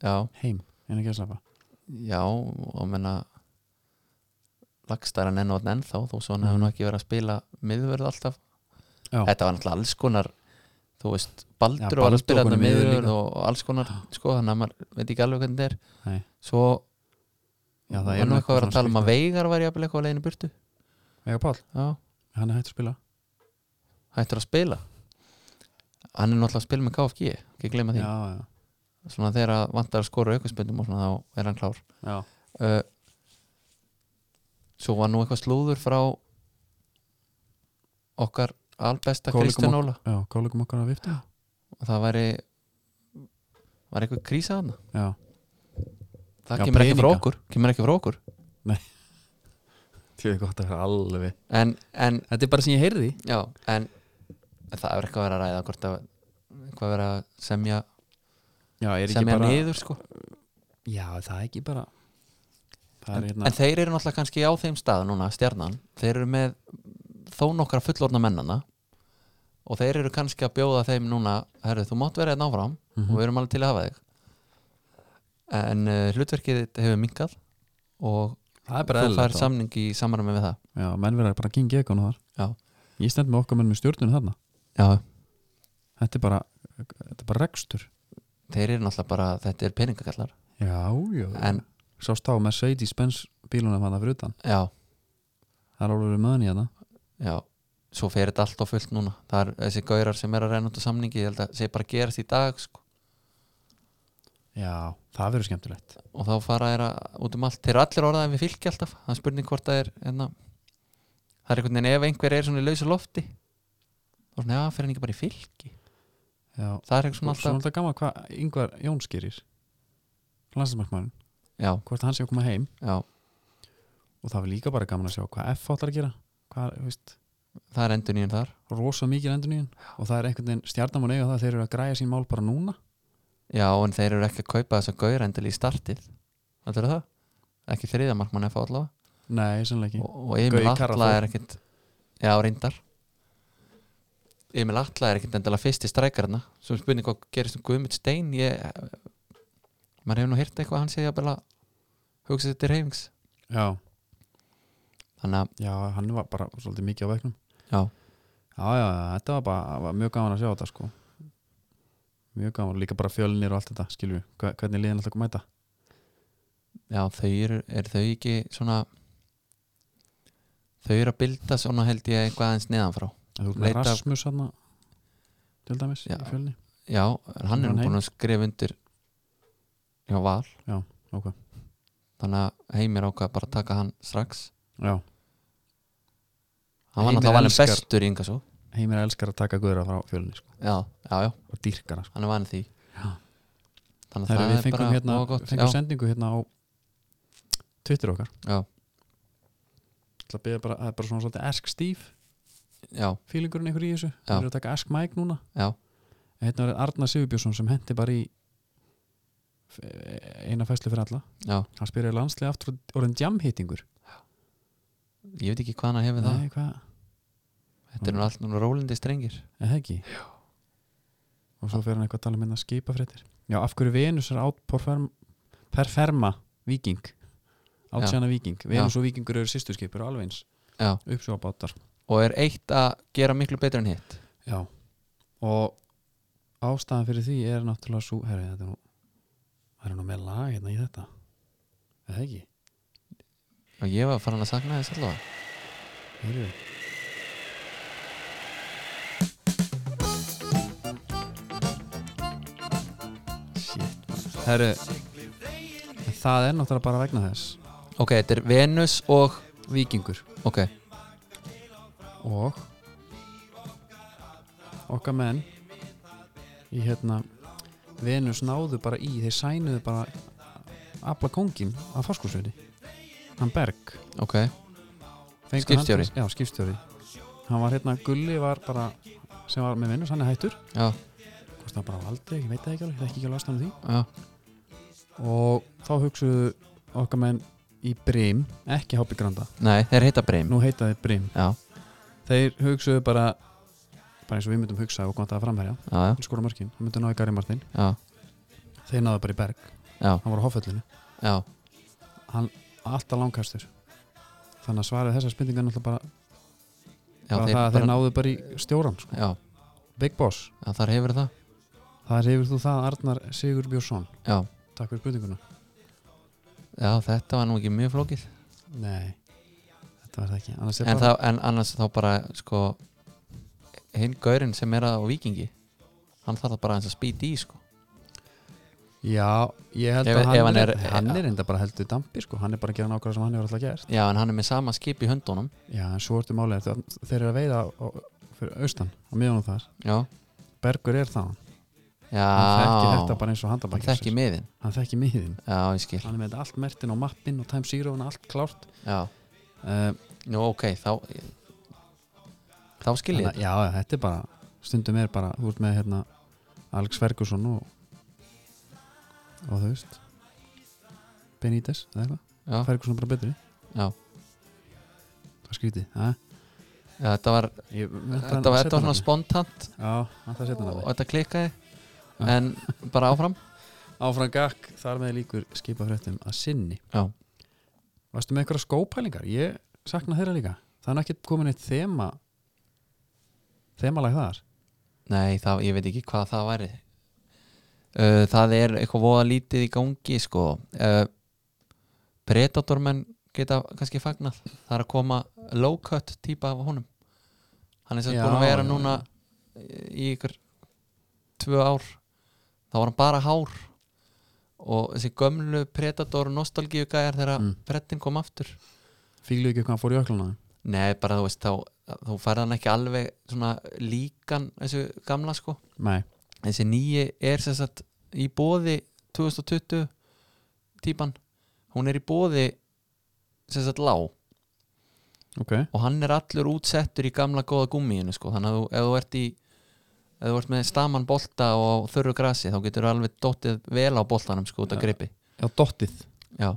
já,
Heim, en ekki að slafa
já og menna lagstæra enn og enn þá þó svo hann hefur nú ekki verið að spila miðvörð alltaf
Mhm. Já.
þetta var náttúrulega alls konar þú veist, Baldur
Já,
var
Baldur
að spila
var
þarna
í miðvörð
miðvörð og og alls konar sko, þannig að maður veit ekki alveg hvernig þetta er
Nei.
svo
Já, það
það
er
er nú eitthvað að vera að tala um
svona
að Veigar var jafnvel eitthvað að leiðinu burtu
Veigar Páll,
já,
hann er hægt að spila
hættur að spila hann er náttúrulega að spila með KFG ekki gleyma því,
Já, já,
svona þegar að vantar að skora aukaspöndum og svona þá er hann klár
já.
uh, svo var nú eitthvað slúður frá okkar albesta
Kollegum
Kristján Óla
já kollegum okkar að vifta
og það væri var eitthvað krísa hann
Já,
það
Já,
kemur ekki frá
peninga.
okkur kemur ekki frá okkur
þetta er gott að vera alveg
en, en
Þetta er bara sem ég heyrði
Já, en það er eitthvað að vera að ræða hvort að eitthvað að vera að semja,
Já, er ekki
semja
bara
niður sko.
Já, það er ekki bara Það
en,
er hérna
en þeir eru náttúrulega kannski á þeim stað núna, stjarnan, þeir eru með þó nokkra fullorna mennana og þeir eru kannski að bjóða þeim núna, herru, þú mátt vera einn áfram og við
Mhm.
erum alveg til að hafa þig en uh, hlutverkið þitt hefur minkað og
Það er bara
þú fær
eðlilegt þá.
samning í samarmi við það
Já, menn verða bara að gengi ekon þar
Já.
Ég stend með okkar menn með stjórnun þarna
Já,
Þetta er bara, þetta er bara rekstur
þeir eru náttúrulega bara, þetta er peningakallar
Já, já
en
sást á Mercedes-Benz bílunum hann að fyrir utan
já,
það er alveg möðin í þetta
Já, svo fer þetta allt á fullt núna Það er þessi gaurar sem er að reyna út á samningi Ég held að sé bara að gerast í dag sko.
Já, það verður skemmtilegt
og þá fara þeir að, út um allt þeir eru allir orðaðið við fylki alltaf það er spurning hvort það er enna, það er einhvern veginn ef einhver er svona í lausa lofti þá er svona, já, fer hann ekki bara í fylki
Já,
það er eitthvað
Svo
svona
er
alltaf
alltaf gaman hvað Yngvar Jóns gerir landslæsmarkmann,
já,
hvort hann sé að koma heim
já,
og það var líka bara gaman að sjá hvað F ætlar að gera hvað, þú veist,
það er endur nýjum þar
rosa mikið enduníun og það er einhvern veginn stjarnamann eiga það að þeir eru að græja sín mál bara núna
já, en þeir eru ekki að kaupa þess að gauður endil í startið heldur það? ekki þriða markmann eða fá allavega
Nei, sannlega ekki
og, og Emil
Gaui Kara
Atla
Þór.
er ekkit já, reyndar Emil Atla er ekkit endala fyrsti strækarna sem spurning hvað gerist um Guðmund Stein ég maður hefur nú hýrt eitthvað að hann sé að bara hugsa þetta til reyfings
Já,
þannig að,
já, hann var bara svolítið mikið á veiknum
já,
Já, já, þetta var bara var mjög gaman að sjá þetta sko Mjög gaman, líka bara fjölnir og allt þetta, skiljum við Hve- Hvernig liðin alltaf mæta
já, þau eru er þau ekki svona þau eru að bilda svona held ég eitthvað aðeins neðanfrá
En Þú ert með
Leita-
Rasmus hann til dæmis
Já.
í fjölni
já, en hann er
Hann
nú
heim.
búin að skrifa undir já, val
Já, ok.
þannig að heimir ákvað bara að taka hann strax
Já,
hann var
Heimir
náttúrulega valinn
elskar-
bestur í ynga svo
heimir elskar að taka guðra frá fjölni sko,
já, já, já,
og dýrkar hann, sko.
hann er vanið því
Já.
þannig að
Þegar
það
við
er bara
fengum, hérna,
nógu gott
fengum
já,
sendingu hérna á Twitter okkar
já,
Það er bara, það er bara svona svolítið Ask Steve
já,
fílingurinn einhver í þessu
Já.
Það eru að taka Ask Mike núna
já,
En Hérna var Arna Sigurbjörnsson sem hendi bara í f- eina fæslu fyrir alla
já
Hann spyrir landslið aftur og orðin jamhittingur
ég veit ekki hvað hann hefur það
Nei, hvað,
þetta er nú allt núna rólindi strengir
eða ekki Já Og svo fer hann eitthvað að tala um hérna skipafréttir Já, af hverju Venus er át perferm, perferma viking átsjana viking, Venus og vikingur eru sýsturskipur og alveg eins,
já,
uppsjóðabátar
og er eitt að gera miklu betur en hitt
Já Og ástæðan fyrir því er náttúrulega svo Herri, þetta er nú Það er nú með lag hérna í þetta Eða ekki?
og ég var farin að sakna þess allavega
Heyrðu Shit Herru Það er náttúrulega bara vegna þess
ok, þetta er Venus og
Víkingur
ok,
og okkar menn í hérna Venus náðu bara í, þeir sænuðu bara afla kóngin af fórskursveiti hann Berg
ok,
Fengu hann-
Skipstjóri?
já, skipstjóri hann var hérna, Gulli var bara sem var með Venus, hann er hættur
já,
hvort það bara valdi, ég veit það ekki alveg, ég þekki ekki alveg ástæðan á því
já
og þá hugsuðu okkar menn í Brim, ekki Hápi Granda
nei, þeir heita Breim
nú heita þeir Brim,
já,
þeir hugsuðu bara bara eins og við myndum hugsa og kontaða framherja
já, já,
hann skora mörkin, hann myndi náðu Gary Martin
já,
þeir náðu bara í berg,
já,
hann var á hofföllinu
já.
alltaf langkastur þannig að svarið þessar spendingar náttúrulega bara,
já
bara það að þeir náðu bara í stjóran sko.
já,
Big Boss,
já, þar hefur það
það hefur þú það Arnar Sigur Björnsson,
já,
takk fyrir spurninguna
já, þetta var nú ekki mjög flókið
nei, þetta var það ekki annars er bara,
en, þá, en annars þá bara sko hinn gaurinn sem er að á vikingi hann þarf það bara eins að spýti í sko
já, ég held
Ef-
að
ef
hann,
hann
er,
er-
hann er enda bara heldur dampi sko, hann er bara að gera nákvæmlega sem hann hefur alltaf gert
já en hann er með sama skip í höndunum
já, en svo ertu málið, að þeir eru að veiða á, fyrir austan, á miðunum þar
já,
Bergur er það,
já
hann þekki þetta bara eins og
Ah. hann
handabækja
þekki miðin
hann þekki miðin
já ég skil
hann er með þetta allt mertin og mappin og time zero og allt klárt
já,
uh,
nú ok þá þá skil ég
þannig að- já, já, þetta er bara stundum er bara, þú ert með hérna Alex Ferguson og og þú veist Benítez, eða eitthvað,
þetta já,
Ferguson er bara betri
já,
það er skrítið, hæ?
já þetta var
Ég,
þetta var, þetta var svona spontant
já, þetta setja
og
hann
þetta klikkaði
Já.
en bara áfram
áfram gakk, þar með líkur skipa fréttum að sinni
já,
varstu með einhverja skópælingar, ég sakna þeirra líka það er nú ekki komin eitt þema þemalag þar
nei það, ég veit ekki hvað það væri uh, það er eitthvað voða lítið í gangi sko uh, predatormenn geta kannski fagnað það er að koma low cut típa af honum hann er sem
Já,
búin að vera
já,
núna í ykkur tvö ár þá var hann bara hár og þessi gömlu Predator nostalgíu gæjar þegar mm.
Mm.
brettin kom aftur
Fílu ekki hvað hann fór í öklana
Nei, bara þú veist, þá, þú færði hann ekki alveg svona líkan þessu gamla sko
Nei,
þessi nýji er sem sagt í bóði 2020 típan, hún er í bóði sem sagt lá og
ok
hann er allur útsettur í gamla góða gummiðinu sko, þannig að þú, ef þú ert í ef þú ert með staman bolta og á þurru grasi þá getur þú alveg dottið vel á boltanum sko út af
Já. um
gripi
Já, dottið
Já,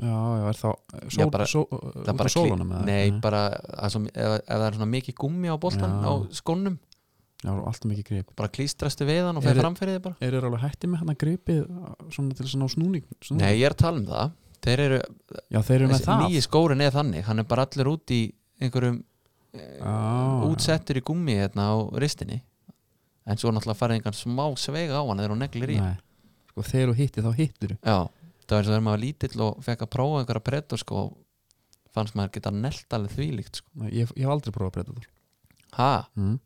Já, já, er þá eh, sól,
bara-
sól,
það
út
er
af
bara
sólunum eða?
Nei, bara að svo, ef, ef það er svona mikið gummi á boltan
Já.
á skónum,
Já, alltaf mikið grip
bara klístrastu við hann og
Er-
fer framfyrir þið bara
Er þeir alveg hætti með hann að gripið eh, svona til þess að ná snúning, snúning?
Nei, ég er að tala um það Þeir eru,
Já, þeir eru með það
nýji skórin er þannig hann er bara allir út í einhverjum
Já,
útsettur í gummi hérna á ristinni en svo náttúrulega farið einhvern smá sveig á hann þegar hún neglir í
Nei, sko þegar þú hittir þá hittir
já, það var eins og þegar maður var lítill og fekk að prófa einhverja pretur sko og fannst maður geta nelt alveg þvílíkt sko.
ég, ég hef aldrei prófað Predator
ha,
mm.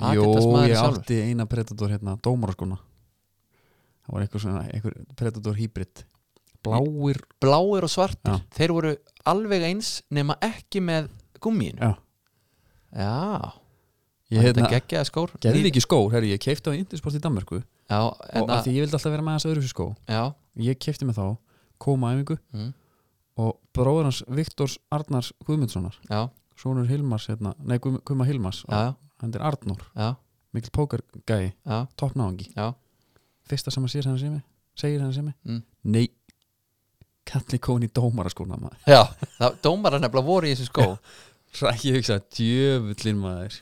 Jó,
aðgættast maður
ég
sjálfur
átti eina Predator hérna, dómaraskona Það var einhver svona, einhver Predator hybrid Bláir
bláir og svartir,
Já.
þeir voru alveg eins nema ekki með gumminu
Já,
já,
ég
þetta
hérna
geggjaði skór
Gerði
Ný-
ekki skór, herri, ég keipti á Indisport í Danmarku
já,
og af
hérna,
því ég vildi alltaf vera með þess að öðru skó
já
Ég keipti með þá, kom að æfingu
mm,
og bróður hans Viktors Arnars Guðmundssonar
já,
Sónur Hilmars, hérna, nei Guðm- Guðma Hilmars
já,
hann er Arnur,
já,
mikil pókergæi
já,
toppnáðangi
já.
fyrsta sem að sér hann sem er, segir hann sem er
Mm.
nei, kalli koni dómara skóna maður
Já, það, dómarar nefnilega voru í þessu skó
rækki hugsa, djöfullin maður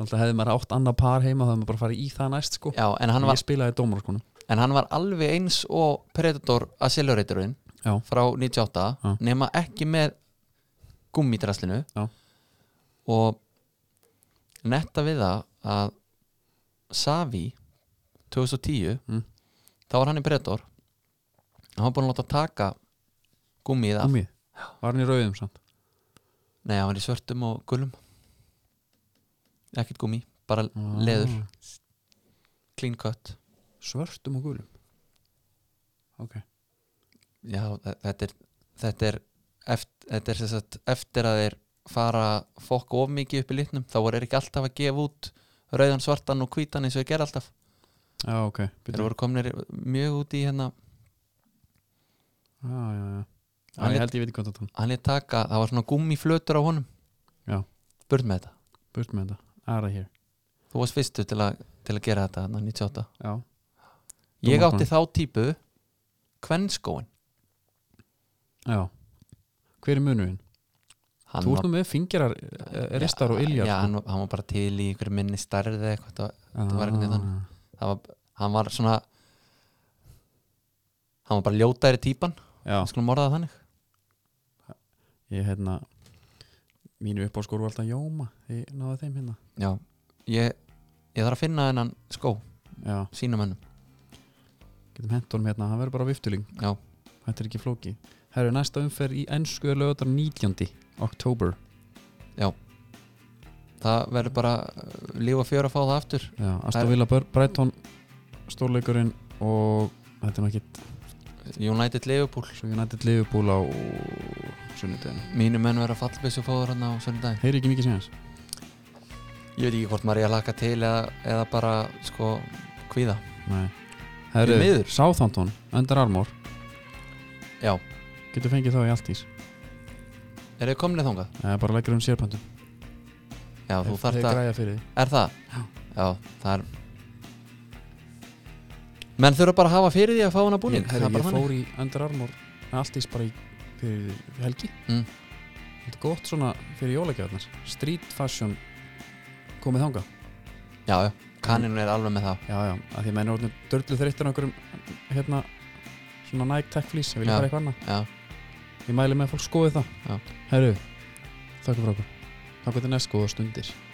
alltaf hefði maður átt annað par heima þá hefði maður bara farið í það næst sko
Já, en hann, var,
ég spilaði dómara skóna
en hann var alveg eins og Predator Acceleratorinn
Já.
frá 98
Já.
nema ekki með gummidraslinu
Já.
og netta við það að Savi 2010
Mm.
þá var hann í Predator hann var búin að láta taka gummið af
Gummið. var hann í rauðum samt
Nei, hann var í svörtum og gulum ekkert gummi, bara leður
Ah,
clean cut
svörtum og gulum
Já, þe- þetta er þetta er eftir, þetta er sem sagt, eftir að þeir fara fokk of mikið upp í litnum þá voru þeir ekki alltaf að gefa út rauðan, svartan og hvítan eins og þeir gera alltaf
já ok
þeir
Bíddu.
voru komnir mjög út í hérna
já, já, já. Já,
Hann
ég
er-
held ég veit ekki hvað þetta er.
hann er taka, það var svona gummiflötur á honum
Já.
burt með þetta
burt með þetta aðra hér
þú varst fyrstu til að, til að gera þetta þarna 98
já
ég
Dómarkonan.
átti þá típu kvennskóin
Já Hver er munurinn?
Hann
Þú
var-
ert nú með fingrar, eh, ristar og iljar sko.
já, hann, hann var bara til í ykkur minni stærð eða eitthvað þetta var-
það
var einhvern veginn
Ah.
þannig. það var, hann var svona hann var bara ljótæri típan
Já,
við skulum orða það þannig
ég hérna Mínu upp á skóru alltaf Jóma Ég náði þeim hérna
já, ég, ég þarf að finna hennan skó,
Já,
sínum hennum
getum hent honum hérna, hann verður bara á viftuling
já,
Þetta er ekki flóki Það eru næsta umferð í ennsku er lögadar 19. oktober
það verður bara uh, líf og fjör að fá það aftur
Já,
Það er-
Aston Villa Bur- Brighton Stórleikurinn og Þetta er nú ekkit
United Liverpool,
svo United Liverpool á sunnudeginu
mínu menn verður að fallbissu fóður hann á söndag
Heyri ekki mikið sem hans
ég veit ekki hvort maður er að laka til eða, eða bara sko kvíða
Nei
Því miður.
Herru, Southampton, Under Armour
já,
Getur fengið þá í allt ís
er þið komnið þangað?
Það er bara leggur um sérpöntum
já, þú þarft að,
græja fyrir
er það? já, það er menn þurfa bara að hafa fyrir því að fá hana
því
búning það
Herri,
er bara
Ég
þannig
fór í Under Armour Allt ís bara í fyrir helgi
Mm.
Þetta er gott svona fyrir jólagjöfarnar Street fashion komið þanga
já, já, kaninu er alveg með það
Já, já, að því mennur orðinu dörlu þreyttur á einhverjum hérna svona Nike Tech Fleece ég vilja
Já.
bara eitthvað annað
já,
Ég mæli með að fólk skoði það
Já.
Herru, þakka fyrir okkur Þakka til næst góða stundir